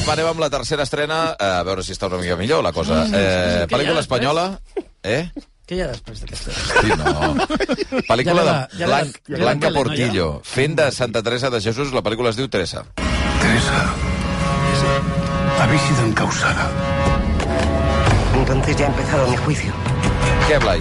S1: Va, anem amb la tercera estrena, eh, a veure si està una mica millor la cosa. Eh,
S11: Mm.
S3: que ja,
S1: pel·lícula espanyola... Eh?
S3: Què hi ha després d'aquesta?
S1: Sí, no. Pel·lícula de
S3: Ja ve la- ja ve la-
S1: Blanc,
S3: ja ve la
S1: Blanca
S3: tele, no, ja.
S1: Portillo, fent de Santa Teresa de Jesús, la pel·lícula es diu Teresa.
S6: Teresa, habéis sido encausada.
S13: Entonces ya ha empezado mi juicio.
S1: Què, Blai?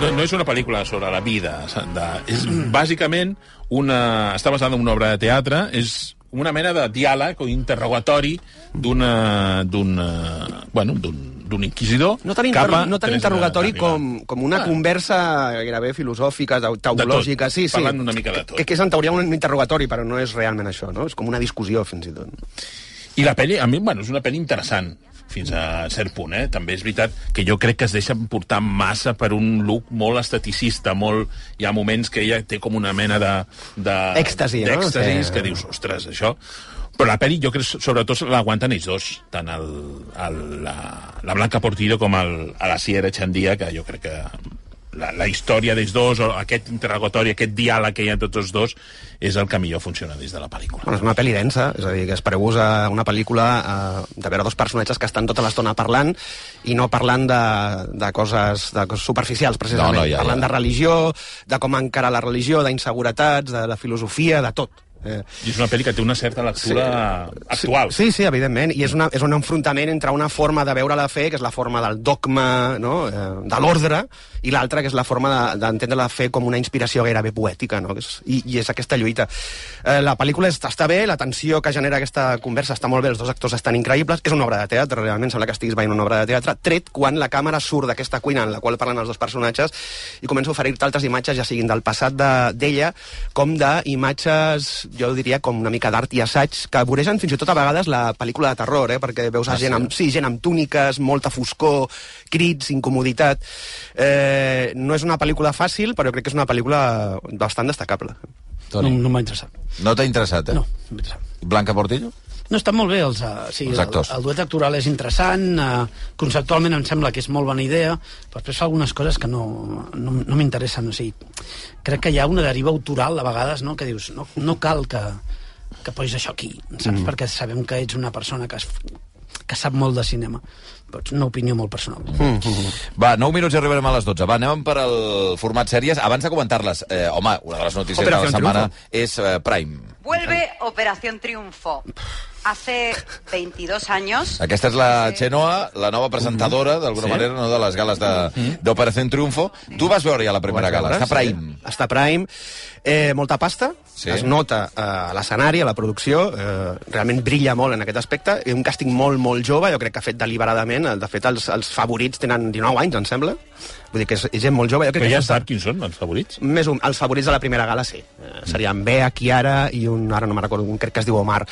S11: No, no és una pel·lícula sobre la vida. De, és bàsicament una... Està basada en una obra de teatre, és una mena de diàleg o interrogatori d'una... d'una- Bueno, d'un d'un inquisidor
S2: No tan,
S11: cap
S2: inter...
S11: a
S2: no tan
S11: Teresa
S2: interrogatori
S11: d'Ávila.
S2: com, com una
S11: Ah.
S2: conversa gairebé filosòfica, tau- teològica, sí, sí.
S11: Parlant una mica de tot.
S2: Que, que és en teoria un interrogatori, però no és realment això, no? És com una discussió, fins i tot.
S11: I la pel·li, a mi, bueno, és una pel·li interessant, fins a cert punt, eh? També és veritat que jo crec que es deixa portar massa per un look molt esteticista, molt... Hi ha moments que ella té com una mena de... de
S2: Èxtasi, no?
S11: d'èxtasis
S2: Sí.
S11: que dius, ostres, això... Però la pel·li, jo crec, sobretot l'aguanten ells dos, tant el, el, la, la Blanca Portillo com el, a la Sierra Chandia, que jo crec que la, la història d'ells dos, o aquest interrogatori, aquest diàleg que hi ha entre tots dos, és el que millor funciona des de la pel·lícula.
S2: Bueno, és una pel·li densa, és a dir, que espereu-vos a una pel·lícula eh, de veure dos personatges que estan tota l'estona parlant i no parlant de, de, coses, de coses superficials, precisament.
S1: No, no, ja, ja.
S2: parlant de religió, de com encara la religió, d'inseguretats, de la filosofia, de tot. Eh,
S11: I és una pel·li que té una certa lectura sí, actual.
S2: Sí, sí, evidentment, i és, una, és un enfrontament entre una forma de veure la fe, que és la forma del dogma, no? eh, de l'ordre, i l'altra, que és la forma de- d'entendre de, la fe com una inspiració gairebé poètica, no? Que és, i, i és aquesta lluita. Eh, la pel·lícula està, està bé, la tensió que genera aquesta conversa està molt bé, els dos actors estan increïbles, és una obra de teatre, realment, sembla que estiguis veient una obra de teatre, tret quan la càmera surt d'aquesta cuina en la qual parlen els dos personatges i comença a oferir-te altres imatges, ja siguin del passat de- d'ella, de, com d'imatges, jo diria, com una mica d'art i assaig, que voregen fins i tot a vegades la pel·lícula de terror, eh? perquè veus ah, gent, amb, sí, gent amb túniques, molta foscor, crits, incomoditat... Eh, no és una pel·lícula fàcil, però crec que és una pel·lícula bastant destacable.
S1: Toni.
S3: No, no m'ha interessat.
S1: No t'ha interessat, eh?
S3: No, no m'ha interessat.
S1: Blanca Portillo?
S3: No, estan molt bé els, uh, sí,
S1: Els actors.
S3: El, el duet actoral és interessant, uh, conceptualment em sembla que és molt bona idea, però després fa algunes coses que no, no, no m'interessen. O sigui, crec que hi ha una deriva autoral a vegades, no?, que dius, no, no cal que, que posis això aquí, saps? Mm. Perquè sabem que ets una persona que, es, que sap molt de cinema. Però és una opinió molt personal.
S1: Mm -hmm. Va, 9 minuts i arribarem a les 12. Va, anem per al format sèries. Abans de comentar-les, eh, home, una de les notícies de
S2: Operación
S1: la setmana
S2: Triunfo.
S1: és eh, Prime.
S14: Vuelve Operación Triunfo. Hace 22 años.
S1: Aquesta és la Xenoa, la nova presentadora, d'alguna
S2: Mm-hmm. Sí. Mm-hmm.
S1: manera, no, de les gales de- d'Operación Triunfo. Tu vas veure ja la primera
S2: Ho vaig
S1: gala,
S2: veure,
S1: està Prime.
S2: Sí. Està Prime. Eh, molta pasta,
S1: Sí.
S2: sí. es nota eh, a l'escenari, a la producció, eh, realment brilla molt en aquest aspecte. És un càsting molt, molt jove, jo crec que ha fet deliberadament. De fet, els, els favorits tenen 19 anys, em sembla. Vull dir que és, és gent molt jove. Jo crec
S11: Però
S2: que
S11: ja
S2: això està-
S11: sap quins són els favorits.
S2: Més un, els favorits de la primera gala, sí. Eh, serien Bea, Kiara i un, ara no me'n recordo, un crec que es diu Omar.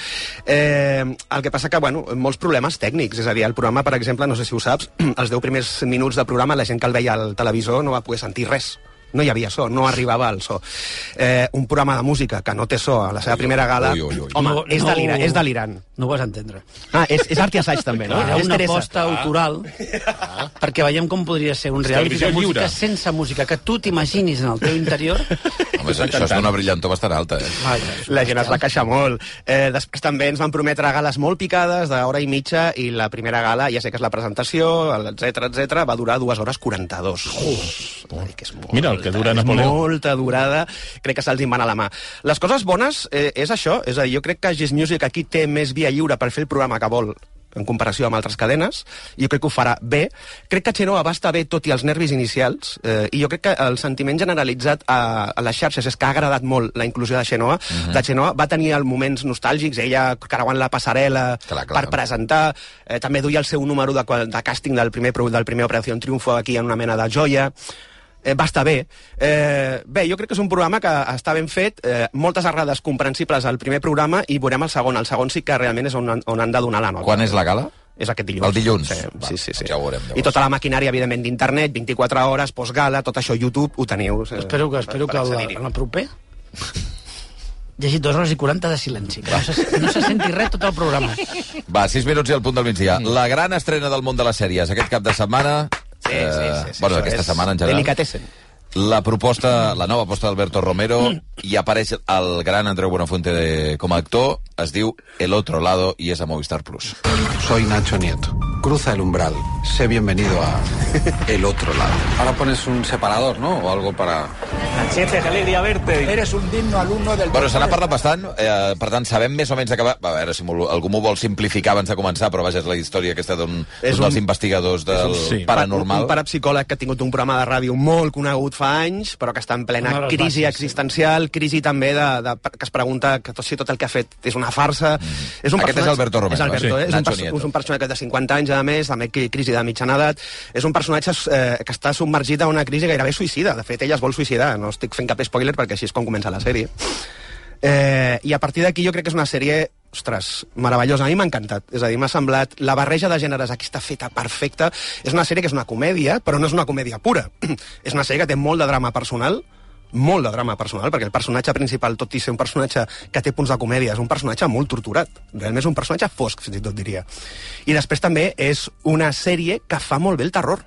S2: Eh, el que passa que, bueno, molts problemes tècnics, és a dir, el programa, per exemple, no sé si ho saps, els 10 primers minuts del programa la gent que el veia al televisor no va poder sentir res. No hi havia so, no arribava al so. Eh, un programa de música que no té so a la seva primera gala,
S3: ui, ui, ui.
S2: home,
S3: No,
S2: és,
S3: no.
S2: delira, és delirant.
S3: No ho vas entendre.
S2: Ah, és, és art i assaig, també, no?
S3: Era
S2: És Ah.
S3: una
S2: Teresa.
S3: aposta autoral perquè veiem com podria ser un
S2: És
S3: reality de
S1: televisió
S3: música
S1: lliure.
S3: sense música, que tu t'imaginis en el teu interior.
S1: Home, és- això és d'una brillantor bastant alta, eh?
S2: La gent es va queixar molt. Eh, després també ens van prometre gales molt picades, d'hora i mitja, i la primera gala, ja sé que és la presentació, etc etc, va durar 2 hores 42. Oh, que és molt,
S11: Mira el que dura
S2: és
S11: Napoleó.
S2: molta durada, crec que se'ls hi mana la mà. Les coses bones eh, és això, és a dir, jo crec que Gis Music aquí té més via lliure per fer el programa que vol en comparació amb altres cadenes, i jo crec que ho farà bé. Crec que Xenoa va estar bé tot i els nervis inicials, eh, i jo crec que el sentiment generalitzat a, a les xarxes és que ha agradat molt la inclusió de Xenoa. Uh -huh. De Xenoa va tenir els moments nostàlgics, ella creuant la passarel·la clar, clar. per presentar, eh, també duia el seu número de, qual- de càsting del primer, pro- del primer Operació Triunfo aquí en una mena de joia eh, va estar bé. Eh, bé, jo crec que és un programa que està ben fet, eh, moltes errades comprensibles al primer programa i veurem el segon. El segon sí que realment és on, han- on han de donar la nota.
S1: Quan és la gala?
S2: És aquest dilluns.
S1: El dilluns?
S2: Sí, sí, sí, sí.
S1: Ja ho veurem.
S2: I tota la maquinària, evidentment, d'internet, 24 hores, postgala, tot això, YouTube, ho teniu. Eh,
S3: Espero que, espero que el, en el proper llegit dues hores i 40 de silenci, que no se, no se senti res tot el programa.
S1: Va, 6 minuts i al punt del migdia.
S2: Mm.
S1: La gran estrena del món de les sèries aquest cap de setmana... Sí, sí, sí. bueno,
S2: això
S1: aquesta
S2: és
S1: setmana en general.
S2: Delicatessen.
S1: La proposta, la nova aposta d'Alberto Romero,
S2: Mm.
S1: i apareix el gran Andreu Buenafuente de, com a actor, es diu El Otro Lado i és a Movistar Plus.
S15: Soy Nacho Nieto. Cruza el umbral. Sé bienvenido a el otro lado. Ahora pones un separador, ¿no? O algo para...
S16: Machete, qué alegría verte. Eres un digno alumno del...
S1: Bueno, se n'ha parlat bastant, eh, per tant, sabem més o menys acabar... A veure si m'ho- algú m'ho vol simplificar abans de començar, però vaja, és la història aquesta d'un
S2: És
S1: d'un dels
S2: un-
S1: investigadors del
S2: Un,
S1: paranormal.
S2: un parapsicòleg que ha tingut un programa de ràdio molt conegut fa anys, però que està en plena
S1: Una de les
S2: crisi
S1: bases,
S2: existencial, crisi també de, de, que es pregunta que tot, si tot el que ha fet és una farsa. És
S1: Mm. Aquest
S2: personatge-
S1: és Alberto Romero,
S2: És, Alberto,
S1: eh?
S2: eh?
S1: Sí,
S2: és, un
S1: Nacho
S2: perso-
S1: Nieto.
S2: és un personatge de 50 anys, a més, també cri- crisi de mitjana edat. És un personatge eh, que està submergit a una crisi gairebé suïcida. De fet, ella es vol suïcidar. No estic fent cap spoiler perquè així és com comença la sèrie. Eh, I a partir d'aquí jo crec que és una sèrie ostres, meravellosa, a mi m'ha encantat és a dir, m'ha semblat, la barreja de gèneres aquí està feta perfecta, és una sèrie que és una comèdia però no és una comèdia pura és una sèrie que té molt de drama personal molt de drama personal, perquè el personatge principal, tot i ser un personatge que té punts de comèdia, és un personatge molt torturat. Realment és un personatge fosc, fins i tot diria. I després també és una sèrie que fa molt bé el terror.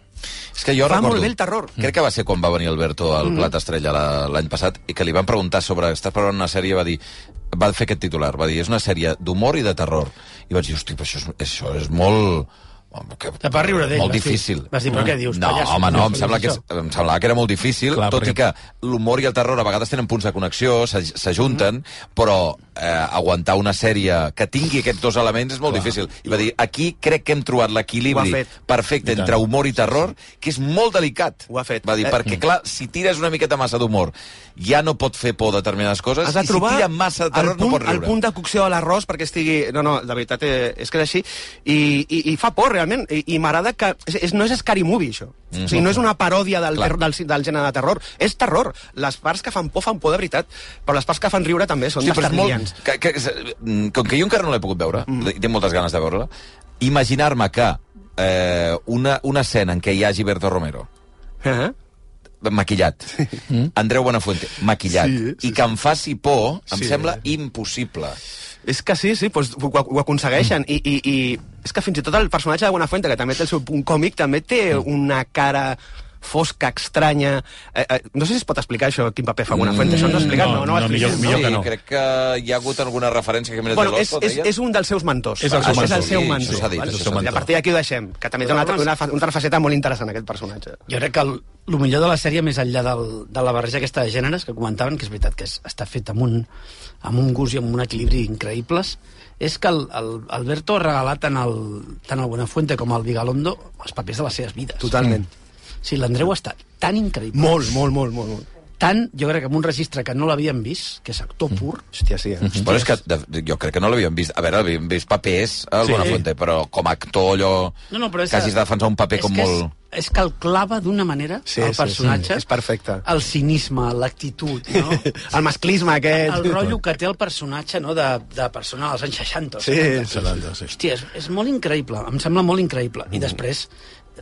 S1: És que jo
S2: fa
S1: recordo,
S2: molt bé el terror.
S1: Crec que va ser quan va venir Alberto al
S2: Mhm.
S1: Plat Estrella la- l'any passat i que li van preguntar sobre... Estàs preparant una sèrie? Va dir va fer aquest titular, va dir, és una sèrie d'humor i de terror. I vaig dir, hosti, però això és, això és molt... Que,
S3: Te vas riure d'ell,
S1: Molt
S3: vas dir-
S1: difícil.
S3: vas dir, però què dius,
S1: No,
S3: pallasso?
S1: home, no, em
S3: Què
S1: sembla, que,
S3: dius,
S1: és- em semblava que era molt difícil, Clar,
S11: Clar,
S1: tot
S11: perquè-
S1: i que l'humor i el terror a vegades tenen punts de connexió, s'aj- s'ajunten, però eh, aguantar una sèrie que tingui aquests dos elements és molt difícil. I va dir, aquí crec que hem trobat
S2: Ho ha
S1: l'equilibri
S2: fet.
S1: perfecte
S2: I tant.
S1: entre humor i terror, que és molt delicat. Ho ha fet. Va dir,
S2: Eh,
S1: perquè,
S2: mm.
S1: clar, si tires una miqueta massa d'humor, ja no pot fer por a determinades coses, i si tira massa de terror,
S2: el punt,
S1: no pot
S2: el
S1: riure.
S2: punt de cocció de l'arròs perquè estigui... No, no, de veritat eh, és que és així. I, i, i fa por, realment. I, i m'agrada que... És, és, no és scary movie, això.
S1: Mhm.
S2: O sigui, no és una paròdia del,
S1: Clar.
S2: terror, del, del gènere de terror. És terror. Les parts que fan por fan por de veritat, però les parts que fan riure també són
S1: Hosti,
S2: sí,
S1: però és molt...
S2: bastardians.
S1: Que, que, és- mm, com que jo encara no l'he pogut veure, mm. tinc moltes ganes de veure-la, imaginar-me que eh, una, una escena en què hi hagi Berto Romero,
S2: Uh -huh.
S1: maquillat,
S2: Mm.
S1: Andreu Buenafuente, maquillat,
S2: Sí,
S1: i que em faci por, em
S2: Sí.
S1: sembla impossible.
S2: És que sí, sí, doncs, ho, ho
S1: Mm.
S2: aconsegueixen. I, i,
S1: Mm.
S2: I és que fins i tot el personatge de Buenafuente, que també té el seu punt còmic, també té una cara fosca, estranya... Eh, eh, no sé si es pot explicar això, quin paper fa Buenafuente. Mm, això no ho has explicat, no, no, ho has explicat.
S1: Sí, crec que hi ha hagut alguna referència que Jiménez
S2: Bueno,
S1: de
S2: és,
S1: Orozco,
S2: és,
S1: deia?
S2: és un dels seus mentors.
S1: És el seu
S2: Això
S1: mentor.
S2: És el seu
S1: Sí,
S2: mentor.
S1: això s'ha dit,
S2: vale?
S1: això s'ha dit.
S2: I a partir d'aquí ho deixem, que també té una altra, una, fa- una altra faceta molt interessant, aquest personatge.
S3: Jo crec que el, el millor de la sèrie, més enllà del, de la barreja aquesta de gèneres que comentaven, que és veritat que és, està fet amb un, amb un gust i amb un equilibri increïbles, és que el, el Alberto ha regalat tant el, tant el Buenafuente com el Vigalondo els papers de les seves vides.
S2: Totalment.
S3: Sí, l'Andreu ha estat tan increïble.
S2: Mm. Molt, molt, molt, molt. molt.
S3: Tant, jo crec que amb un registre que no l'havíem vist, que és actor pur,
S2: Hòstia, sí, eh?
S1: Mm -hmm. Bueno, és que de, jo crec que no l'havíem vist. A veure, l'havíem vist papers al
S3: Sí.
S1: sí. Buenafuente, però com a actor allò...
S3: No, no, però és
S1: que hagis de defensar un paper
S3: és
S1: com
S3: que
S1: molt...
S3: És, és que el clava d'una manera sí, el
S2: Sí,
S3: personatge,
S2: és perfecte.
S3: el cinisme, l'actitud, no?
S2: El masclisme aquest.
S3: El rotllo que té el personatge no, de, de persona dels anys 60. o
S2: Sí, Eh,
S3: 70.
S2: sí, Mm. sí, sí.
S3: Hòstia, és, és molt increïble, em sembla molt increïble. I després,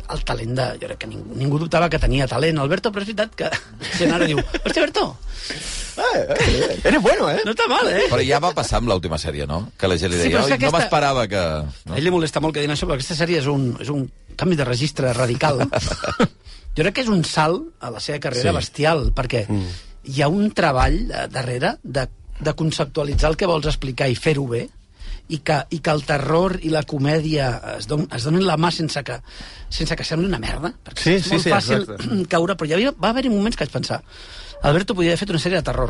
S3: el talent de... Jo crec que ningú, ningú dubtava que tenia talent. Alberto, però és veritat que... Genaro diu, hòstia, Alberto,
S2: Eres bueno, eh?
S3: no està mal, eh?
S1: Però ja va passar amb l'última sèrie, no? Que la gent li
S3: Sí,
S1: deia, sí,
S3: però és que
S1: aquesta... no
S3: aquesta-
S1: m'esperava que...
S3: A ell li molesta molt que diguin això, però aquesta sèrie és un, és un canvi de registre radical. jo crec que és un salt a la seva carrera
S17: Sí.
S3: sí. bestial, perquè mm. hi ha un treball eh, darrere de, de conceptualitzar el que vols explicar i fer-ho bé, i que, i que el terror i la comèdia es, don, es donin la mà sense que, sense que sembli una merda. Perquè
S2: Sí,
S3: és
S2: sí,
S3: molt
S2: sí,
S3: fàcil
S2: exacte.
S3: caure, però hi havia, va haver-hi moments que vaig pensar Alberto podria haver fet una sèrie de terror.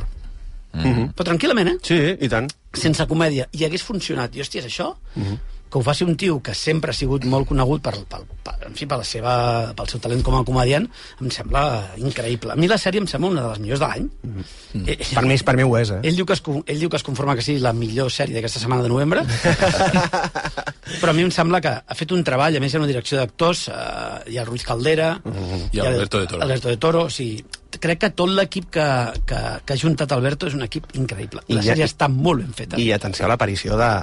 S2: Mhm.
S3: Però tranquil·lament, eh?
S2: Sí, i tant.
S3: Sense comèdia. I hagués funcionat. I, hòstia, és això? Mhm. que ho faci un tio que sempre ha sigut molt conegut per, per, per, en fi, per la seva, pel seu talent com a comediant, em sembla increïble. A mi la sèrie em sembla una de les millors de l'any. Eh, eh,
S2: Per mi, per mi ho és, eh?
S3: Ell diu, que es, con- ell diu que es conforma que sigui la millor sèrie d'aquesta setmana de novembre, però a mi em sembla que ha fet un treball, a més hi ha una direcció d'actors, eh, hi ha Ruiz Caldera,
S11: I
S3: hi ha
S11: Alberto de Toro.
S3: Alberto de Toro, o sigui, crec que tot l'equip que, que, que ha juntat Alberto és un equip increïble. I la
S2: I ja-
S3: sèrie està molt ben feta.
S2: I atenció a l'aparició de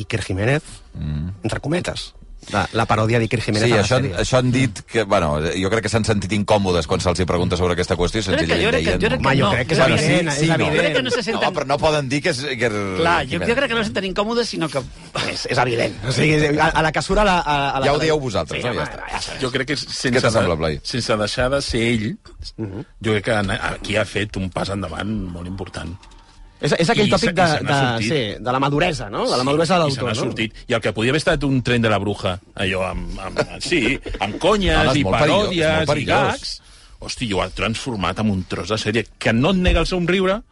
S2: Iker Jiménez, mm. entre cometes. La, la paròdia d'Iker Jiménez
S1: Sí,
S2: a la
S1: això,
S2: sèrie.
S1: això han dit que... Bueno, jo crec que s'han sentit incòmodes quan se'ls hi pregunta sobre aquesta qüestió.
S3: Crec que- jo crec que- jo crec que Home, jo no. crec que és
S1: Bueno,
S3: evident,
S1: sí, sí,
S3: és
S1: no.
S3: evident. Crec que no se senten-
S1: No, però no poden dir que és... Que és
S3: Clar, jo, jo crec que no se senten incòmodes, sinó que...
S2: És, és evident. O sigui, a, a la que surt a la... A, a la
S1: Ja ho dieu vosaltres,
S2: sí,
S1: no? Ja
S2: home,
S1: està.
S11: Jo crec que
S1: Què
S11: sense,
S1: t'assembla, Blai?
S11: sense deixar de ser ell, jo crec que en- aquí ha fet un pas endavant molt important.
S2: És, és aquell
S11: I
S2: tòpic
S11: se-
S2: de,
S11: i se n'ha
S2: de,
S11: sortit.
S2: sí, de la maduresa, no? De la maduresa de
S11: I se
S2: l'autor,
S11: n'ha
S2: no?
S11: sortit. I el que podia haver estat un tren de la bruja, allò amb, amb, sí, amb
S1: Home,
S11: conyes
S1: és
S11: i
S1: molt perillós, és
S11: paròdies
S1: molt
S11: i
S1: perillós.
S11: gags, hosti, jo ha transformat en un tros de sèrie que no et nega el somriure,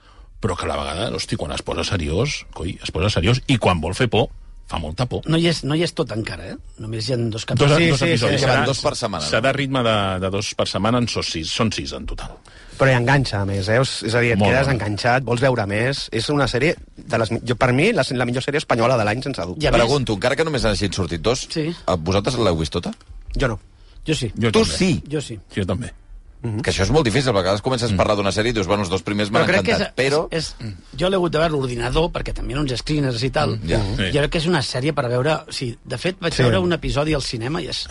S11: però que a la vegada, hosti, quan es posa seriós, coi, es posa seriós, i quan vol fer por, fa molta por.
S3: No hi, és, no hi és tot encara, eh? Només hi ha dos
S11: Dos,
S3: capítols.
S11: dos episodis.
S1: llevan
S11: Serà-
S1: dos per setmana, no?
S11: Serà ritme de, de dos per setmana, en són sis, són sis en total.
S2: Però hi enganxa, a més, eh? Us- És a dir, et
S11: Molt,
S2: quedes
S11: molt.
S2: enganxat, vols veure més. És una sèrie, de les, mi- jo, per mi, la, la millor sèrie espanyola de l'any, sense dubte.
S1: Ja Pregunto, encara que només hagin sortit dos, sí. vosaltres l'heu vist tota?
S2: Jo no.
S3: Jo sí.
S1: Jo Tu també. sí.
S3: Jo sí.
S11: Jo també.
S1: Mm -hmm. Que això és molt difícil, a vegades comences a parlar d'una sèrie i dius, bueno, els dos primers m'han
S3: crec que
S1: encantat, però...
S3: És, és, jo l'he hagut de veure a l'ordinador, perquè també eren uns screeners i tal.
S1: Mm, ja.
S3: Jo
S1: Sí.
S3: crec que és una sèrie per veure... O sigui, de fet, vaig
S1: Sí.
S3: sí. veure un episodi al cinema i és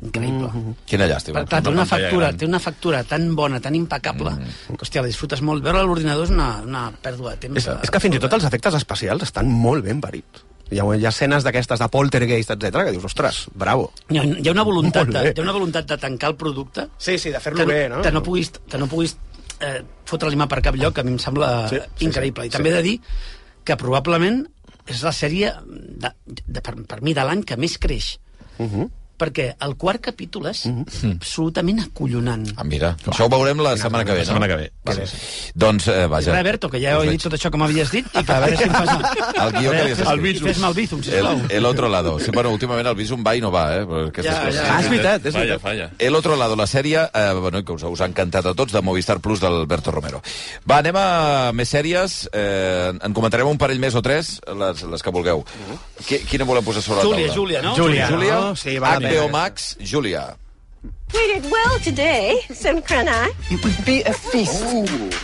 S3: increïble. Mm -hmm.
S1: Quina llàstima.
S3: Per, clar, té una, factura, té una factura tan bona, tan impecable, mm. que, hòstia, la disfrutes molt. Veure a l'ordinador és una, una pèrdua de temps. eh,
S2: És, és que fins i tot els efectes especials estan molt ben parits. Hi ha, hi ha escenes d'aquestes de poltergeist, etc que dius, ostres, bravo.
S3: Hi ha, hi ha una voluntat,
S2: Molt
S3: de,
S2: bé.
S3: hi ha una voluntat de tancar el producte...
S2: Sí, sí, de fer-lo
S3: que
S2: bé, no?
S3: Que no puguis, que no puguis eh, fotre-li mà per cap lloc, que a mi em sembla
S2: Sí,
S3: sí,
S2: sí,
S3: increïble.
S2: sí,
S3: I també
S2: sí.
S3: he de dir que probablement és la sèrie, de, de, per, per mi, de l'any que més creix.
S1: Uh
S2: Uh-huh.
S1: -huh.
S3: Perquè el quart capítol és absolutament acollonant.
S1: Ah, mira, això ho veurem la setmana que ve, no?
S11: La setmana que ve.
S1: Vale. Doncs, eh,
S3: Vaja.
S1: vaja,
S3: Roberto, que ja he dit tot això que m'havies dit i que a veure si em fas...
S1: el guió que li has
S3: El
S1: escrit.
S3: Bizum. Fes-me el Bizum, sisplau.
S1: El, el otro lado. Sí, bueno, últimament el Bizum va i no va, eh? per Aquestes
S3: Ja,
S1: coses.
S3: ja. Ah, és veritat,
S11: és Falla, veritat. falla.
S1: El otro lado, la sèrie, eh, bueno, que us, us ha encantat a tots, de Movistar Plus d'Alberto Romero. Va, anem a més sèries. Eh, en comentarem un parell més o tres, les, les que vulgueu. Qui, quina volem posar sobre
S3: Mm-hmm. Júlia,
S1: la taula?
S3: Júlia, no?
S1: Júlia,
S3: Júlia,
S1: Júlia.
S3: no? Sí,
S2: Ah,
S3: va la
S1: HBO
S3: pena.
S1: Max, Júlia.
S18: We did well today, Simkrana. It would be a feast.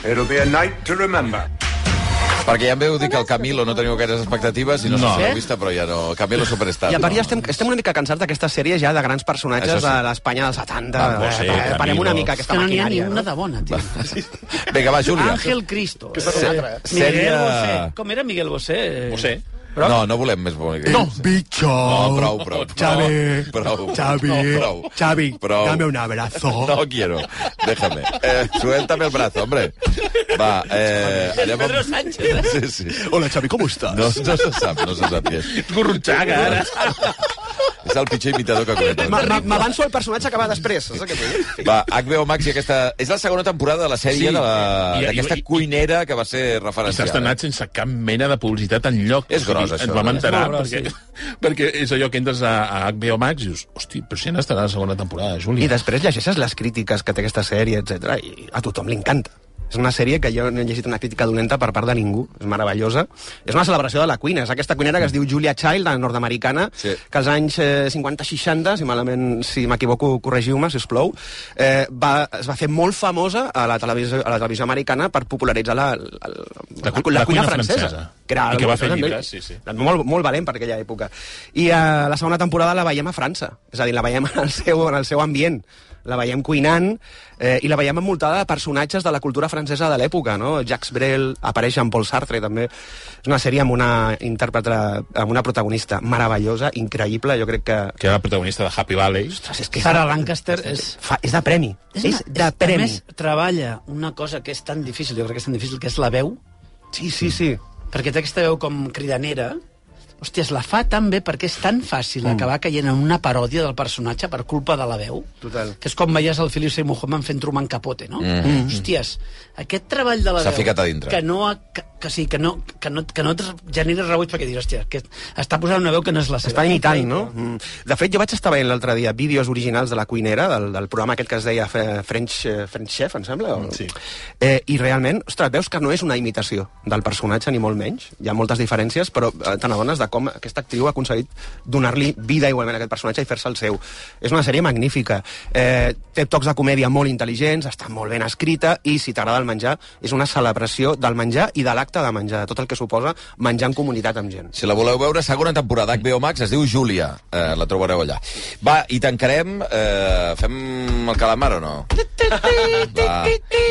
S1: It'll be a night to remember. Perquè ja em veu dir que el Camilo no teniu gaires expectatives i no, no.
S2: No.
S1: sé si
S12: Eh?
S1: l'heu vista, però ja no. Camilo Superstar.
S2: I a part ja
S1: no.
S2: estem, estem una mica cansats d'aquestes sèries ja de grans personatges
S1: Això sí.
S2: de l'Espanya dels 70.
S1: Van Gogh,
S2: Eh, eh, parem una
S1: Camilo.
S2: mica
S3: És
S2: aquesta
S3: que no n'hi ha ni
S2: maquinària.
S3: una de bona, tio.
S1: Vinga, va, Júlia.
S3: Àngel Cristo.
S1: Que és una altra, eh?
S3: Miguel
S1: Sèrie-
S3: Bosé. Com era Miguel Bosé? Bosé.
S1: Però... No, no volem més bonic.
S12: No, bicho.
S1: No, prou, prou.
S12: Xavi.
S1: Prou.
S12: Xavi.
S1: No, prou.
S12: Xavi,
S1: Prou.
S12: dame un abrazo.
S1: No quiero. Déjame. Eh, suéltame el brazo, hombre. Va, eh... Anem amb...
S12: Sánchez.
S1: Sí, sí.
S12: Hola, Xavi, com estàs?
S1: No, no se sap, no se sap què és.
S11: Gurrutxaga, ara.
S1: És el pitjor imitador que conec.
S2: Ma- ma- M'avanço al personatge que va després, saps què vull dir?
S1: Va, HBO Max i aquesta... És la segona temporada de la sèrie
S11: Sí.
S1: de la-
S11: I- i-
S1: d'aquesta
S11: i-
S1: cuinera que va ser
S11: I s'ha
S1: referenciada.
S11: estrenat
S2: eh?
S11: sense cap mena de publicitat en lloc.
S1: És gros,
S11: Ens
S1: això.
S11: vam enterar,
S1: És molt gros,
S11: perquè, perquè és allò que entres a, a HBO Max i dius, hosti, però si han estat a la segona temporada, Júlia.
S2: I després llegeixes les crítiques que té aquesta sèrie, etc i a tothom li encanta. És una sèrie que jo no he llegit una crítica dolenta per part de ningú. És meravellosa. És una celebració de la cuina. És aquesta cuinera que es diu Julia Child, la nord-americana, sí. que als anys eh, 50-60, si malament, si m'equivoco, corregiu-me, si us plou, eh, va, es va fer molt famosa a la televisió, a la televisió americana per popularitzar la, la, la, la, la,
S11: cu- la
S2: cuina
S11: cuina
S2: francesa.
S11: francesa.
S2: era
S11: I que va
S2: algo
S11: fer
S2: també-
S11: llibres, sí, sí.
S2: Eh? Molt, molt valent per aquella època. I eh, la segona temporada la veiem a França, és a dir, la veiem en el seu, en el seu ambient. La veiem cuinant eh, i la veiem envoltada de personatges de la cultura francesa de l'època, no? Jacques Brel, apareix en Paul Sartre també. És una sèrie amb una intèrprete, amb una protagonista meravellosa, increïble, jo crec que...
S11: Que era la protagonista de Happy Valley.
S2: Ostres, és que...
S3: Sarah Lancaster és...
S2: Fa, és de premi. És,
S3: una-
S2: és de
S3: A
S2: premi.
S3: més, treballa una cosa que és tan difícil, jo crec que és tan difícil, que és la veu.
S2: Sí, sí, sí.
S3: Perquè té aquesta veu com cridanera. Hòstia, es la fa tan bé perquè és tan fàcil mm. acabar caient en una paròdia del personatge per culpa de la veu,
S2: Total.
S3: que és com veies el Felice Muhammad fent Truman Capote, no? Mm.
S1: Mhm.
S3: Hòsties, aquest treball de la
S1: S'ha
S3: veu...
S1: ficat a dintre.
S3: Que no, ha- que, que, sí, que no, que no, que no et genera rebuig perquè dius, hòstia, que està posant una veu que no és la seva.
S2: Està imitant, no? Mm. De fet, jo vaig estar veient l'altre dia vídeos originals de la cuinera, del, del programa aquest que es deia eh, French, eh, French Chef, em sembla? O... Sí. Eh, I realment, ostres, veus que no és una imitació del personatge, ni molt menys. Hi ha moltes diferències, però eh, te n'adones de com aquesta actriu ha aconseguit donar-li vida igualment a aquest personatge i fer-se el seu. És una sèrie magnífica. Eh, té tocs de comèdia molt intel·ligents, està molt ben escrita, i si t'agrada el menjar, és una celebració del menjar i de l'acte de menjar, de tot el que suposa menjar en comunitat amb gent.
S1: Si la voleu veure, segona temporada HBO Max, es diu Júlia. Eh, la trobareu allà. Va, i tancarem... Eh, fem el calamar o no? Va.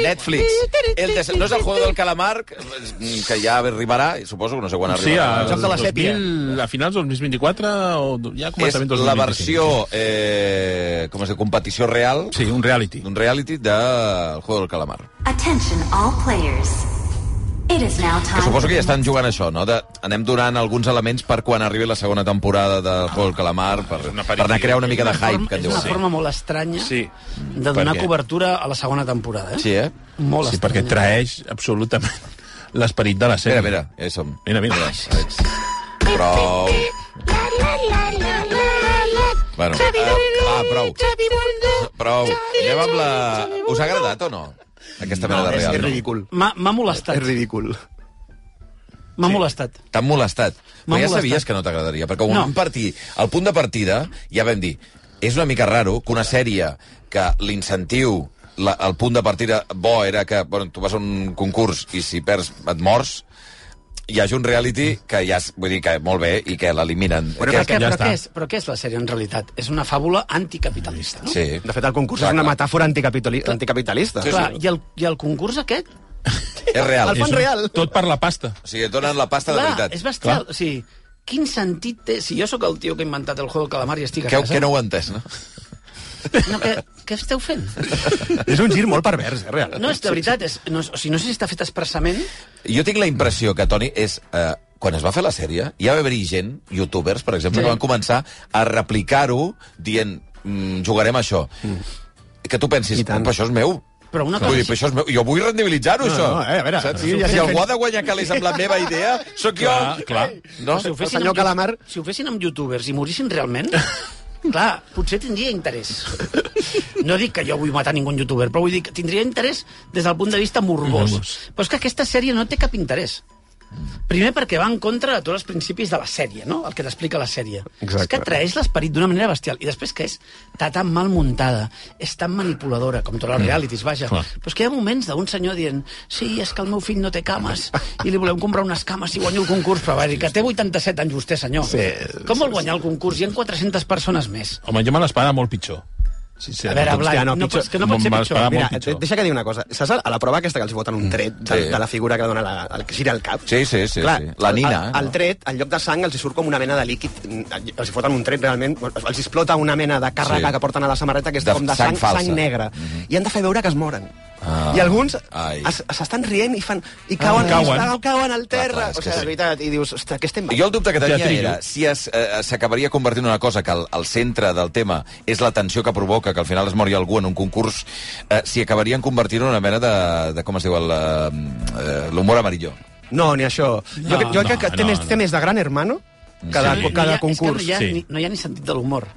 S1: Netflix. El des... No és el juego del calamar, que que ja arribarà, suposo, no sé quan
S11: Sí,
S1: arribarà.
S11: a, Mm, a finals del 2024 o do- ja
S1: és
S11: començament 2025.
S1: la versió, eh, com es diu, competició real... Sí,
S11: un reality.
S1: Un reality del de... El Juego del Calamar.
S17: Attention, all players. It is now
S1: Que
S17: time.
S1: suposo
S17: for
S1: que ja
S17: the
S1: estan jugant a això, no? De, anem donant alguns elements per quan arribi la segona temporada del Juego del Calamar, per, per anar a crear una mica de hype, que en
S3: és una
S1: diuen.
S3: forma molt estranya sí. de
S11: Per
S3: donar
S11: què?
S3: cobertura a la segona temporada. Eh?
S11: Sí, eh?
S3: Molt
S11: sí,
S3: estrany.
S11: perquè traeix absolutament l'esperit de la sèrie. Mira, mira,
S1: ja som.
S11: Mira, mira.
S1: Prou. Bueno, eh, va, prou. Prou. Anem amb la... Us ha agradat o no? Aquesta mena de real.
S2: és ridícul.
S3: M'ha m'ha molestat.
S2: És ridícul.
S3: M'ha molestat.
S1: T'han molestat. Però
S3: M'han
S1: ja
S3: molestat.
S1: sabies que no t'agradaria, perquè quan
S3: No.
S1: no. vam partir, al punt de partida, ja vam dir, és una mica raro que una sèrie que l'incentiu la, el punt de partida bo era que bueno, tu vas a un concurs i si perds et mors, hi hagi un reality que ja és, vull dir que molt bé i que l'eliminen.
S3: Però, però, què, però, què és, però què és la sèrie, en realitat? És una fàbula anticapitalista, no?
S1: Sí.
S2: De fet, el concurs clar, és una metàfora anticapitali anticapitalista.
S3: Clar, I, el, I el concurs aquest?
S1: És real.
S3: El fan real.
S11: Tot per la pasta.
S1: O sigui, et donen la pasta
S3: clar,
S1: de veritat.
S3: és bestial. O sigui, quin sentit té... Si jo sóc el tio que ha inventat el juego del calamar i estic a
S1: Que,
S3: casa...
S1: que no ho he entès, no?
S3: no que, què esteu fent?
S2: És un gir molt pervers, eh, realment.
S3: No, és de veritat. És, no, o sigui, no sé si està fet expressament.
S1: Jo tinc la impressió que, Toni, és... Eh, quan es va fer la sèrie, hi va haver-hi gent, youtubers, per exemple,
S3: Sí.
S1: sí. que van començar a replicar-ho dient mm, jugarem a això. Mm. Que tu pensis, però això és meu.
S3: Però una cosa
S1: Vull dir,
S3: sí-
S1: però això és meu. Jo vull rendibilitzar-ho,
S11: No,
S1: això.
S11: no, eh, a veure,
S1: Saps?
S11: si
S1: Si,
S11: ho
S1: si
S11: fessin-
S1: algú ha de guanyar calés amb la meva idea, sóc jo.
S11: Clar, clar.
S1: No?
S3: Si ho fessin
S2: El senyor
S3: amb, Calamar... Si ho fessin amb youtubers i morissin realment, clar, potser tindria interès. No dic que jo vull matar ningú youtuber, però vull dir que tindria interès des del punt de vista morbós. Però és que aquesta sèrie no té cap interès. Primer perquè va en contra de tots els principis de la sèrie, no? el que t'explica la sèrie.
S2: Exacte.
S3: És que traeix l'esperit d'una manera bestial. I després que és està tan mal muntada, és tan manipuladora, com totes les realities, vaja.
S11: Mm. Clar.
S3: Però és que hi ha moments d'un senyor dient sí, és que el meu fill no té cames i li volem comprar unes cames i guanyo el concurs, però va dir que té 87 anys vostè, senyor.
S11: Sí.
S3: Com vol guanyar el concurs? Hi ha 400 persones més.
S11: Home, jo me l'esperava molt pitjor.
S2: A
S11: veure, Blai, doncs no pots- que no pot ser Me'n vas pitjor. pagar molt
S2: Mira,
S11: pitjor.
S2: de- deixa que digui una cosa. Saps a la prova aquesta que els voten un tret
S1: Sí.
S2: de, de la figura que dona la, el que gira el cap?
S1: Sí, sí, sí,
S2: Clar,
S1: sí. La nina, eh,
S2: El, el,
S1: no?
S2: tret, en lloc de sang, els hi surt com una mena de líquid. mm, Els hi foten un tret, realment. Els hi explota una mena de càrrega
S1: Sí.
S2: sí. que porten a la samarreta, que és
S1: De
S2: de com de
S1: sang
S2: sang, sang,
S1: falsa. Mhm.
S2: sang negra. Mm -hmm. I han de fer veure que es moren. Ah. I alguns es- s'estan rient i fan... I cauen,
S1: Ah,
S2: ah, cauen.
S1: cauen.
S2: cauen al terra.
S1: clar,
S2: Ah,
S1: és
S2: clar,
S1: que
S2: o sigui,
S1: sí.
S2: de veritat, i dius, hòstia, què estem...
S1: Jo el dubte que tenia
S2: Teatrillo.
S1: era si es, eh, s'acabaria convertint en una cosa que el, el centre del tema és la tensió que provoca que al final es mori algú en un concurs, eh, si acabarien convertint en una mena de, de com es diu, el, eh, l'humor amarillo.
S2: No, ni això. No, jo, jo no, crec que té, no, més, no. té més de gran hermano
S1: Mm.
S2: que de, que de concurs.
S3: És que no hi, ha, ni, no hi ha ni sentit de l'humor.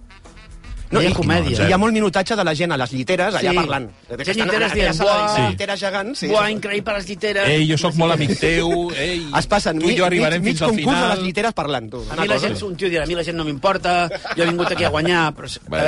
S2: No,
S3: No hi ha
S2: i-
S3: comèdia.
S2: i Hi ha molt minutatge de la gent a les lliteres, allà
S3: Sí.
S2: parlant.
S3: Gent
S2: Estan en
S3: lliteres
S2: aquella
S3: dient,
S2: sala de
S3: "Buah,
S2: lliteres gegants. Sí.
S3: buah, increïble les lliteres.
S11: Ei, jo sóc molt amic teu, ei...
S2: Es passen
S11: tu i
S2: mig,
S11: jo
S2: mig,
S11: arribarem
S2: mig
S11: fins al
S2: concurs
S11: final.
S2: a les lliteres parlant, tu.
S3: A mi la gent, un tio dirà, a mi la gent no m'importa, jo he vingut aquí a guanyar, però... A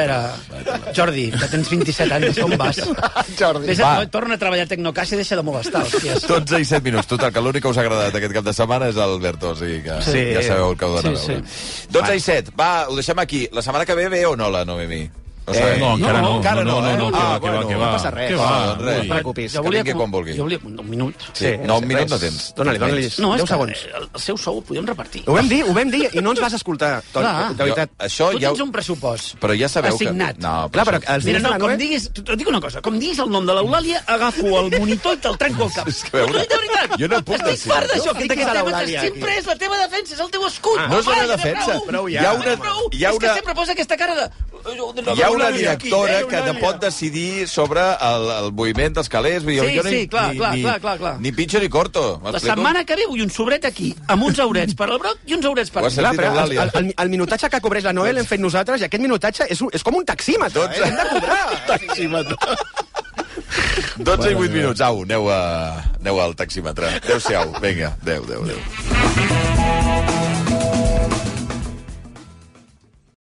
S3: veure, Jordi, que tens 27 anys, on vas?
S2: Jordi.
S3: Vés
S1: Va.
S3: a, torna a treballar a Tecnocaixa i deixa de molestar, hòsties.
S1: 12 i 7 minuts. Total, que l'únic que us ha agradat aquest cap de setmana és l'Alberto, o sigui que sí.
S3: Sí.
S1: ja sabeu el que heu d'anar
S3: Sí,
S1: a veure. 12 i 7. Va, ho deixem aquí. La setmana que ve ve o no la Noemi?
S11: Eh,
S1: sabem.
S11: no, encara no,
S1: Encara no,
S11: no, no,
S1: eh?
S11: no, que va,
S1: Ah,
S11: que va,
S1: bueno,
S11: que va.
S1: No passa res.
S11: Que va,
S1: Ah, doncs res.
S11: no,
S1: No preocupis,
S3: Jo
S1: que
S3: volia
S1: vingui
S3: com-
S1: quan vulgui.
S3: Jo volia un minut.
S1: Sí, no, un minut no tens.
S2: Dóna-li, dóna-li.
S3: No, és
S2: 10
S3: que
S2: segons.
S3: el- el seu sou ho podíem repartir.
S2: Ho vam dir, ho vam dir, i no ens vas escoltar. Toni,
S3: Clar.
S2: de veritat.
S1: Jo- això
S3: tu
S1: ja ho-
S3: tens un pressupost
S1: Però ja sabeu que-
S3: assignat.
S1: No, però Clar, però això- els
S3: Mira,
S1: diners de
S3: no,
S1: la
S3: com
S1: Noe-
S3: diguis... Et dic una cosa. Com diguis el nom de l'Eulàlia, agafo el monitor i te'l trenco al cap.
S1: És que, a veure,
S3: de veritat.
S1: jo no puc
S3: Estic
S1: decidir.
S3: fart d'això,
S1: No
S3: que
S1: fiquis
S3: aquest
S1: a
S3: tema
S1: l'Eulàlia
S3: que sempre
S1: aquí.
S3: és la teva defensa, és el teu escut.
S1: Ah, no és la
S3: Vai,
S1: meva defensa.
S3: prou.
S1: Prou ja. Hi ha una-
S3: Prou.
S1: hi ha
S3: És que
S1: una-
S3: sempre posa aquesta cara de...
S1: Hi ha una
S3: eh?
S1: directora que no pot decidir sobre el, el moviment dels calés. vull dir,
S3: Sí,
S1: jo ni-
S3: sí, clar,
S1: ni,
S3: clar,
S1: ni,
S3: clar, clar, clar.
S1: Ni pitxo ni corto.
S3: La
S1: m'explico?
S3: setmana que ve vull un sobret aquí, amb uns aurets per al broc i uns aurets per
S1: Ho has sentit,
S3: però-
S1: Eulàlia?
S2: El, el, el minutatge que cobreix la Noel l'hem fet nosaltres i aquest minutatge és, un- és com un taxímetre.
S1: Dotze.
S2: Eh? Hem de cobrar.
S1: taxímetre. 12 i 8 minuts. Au, aneu, a, aneu al taxímetre. Adéu-siau. Vinga, adéu, adéu, adéu.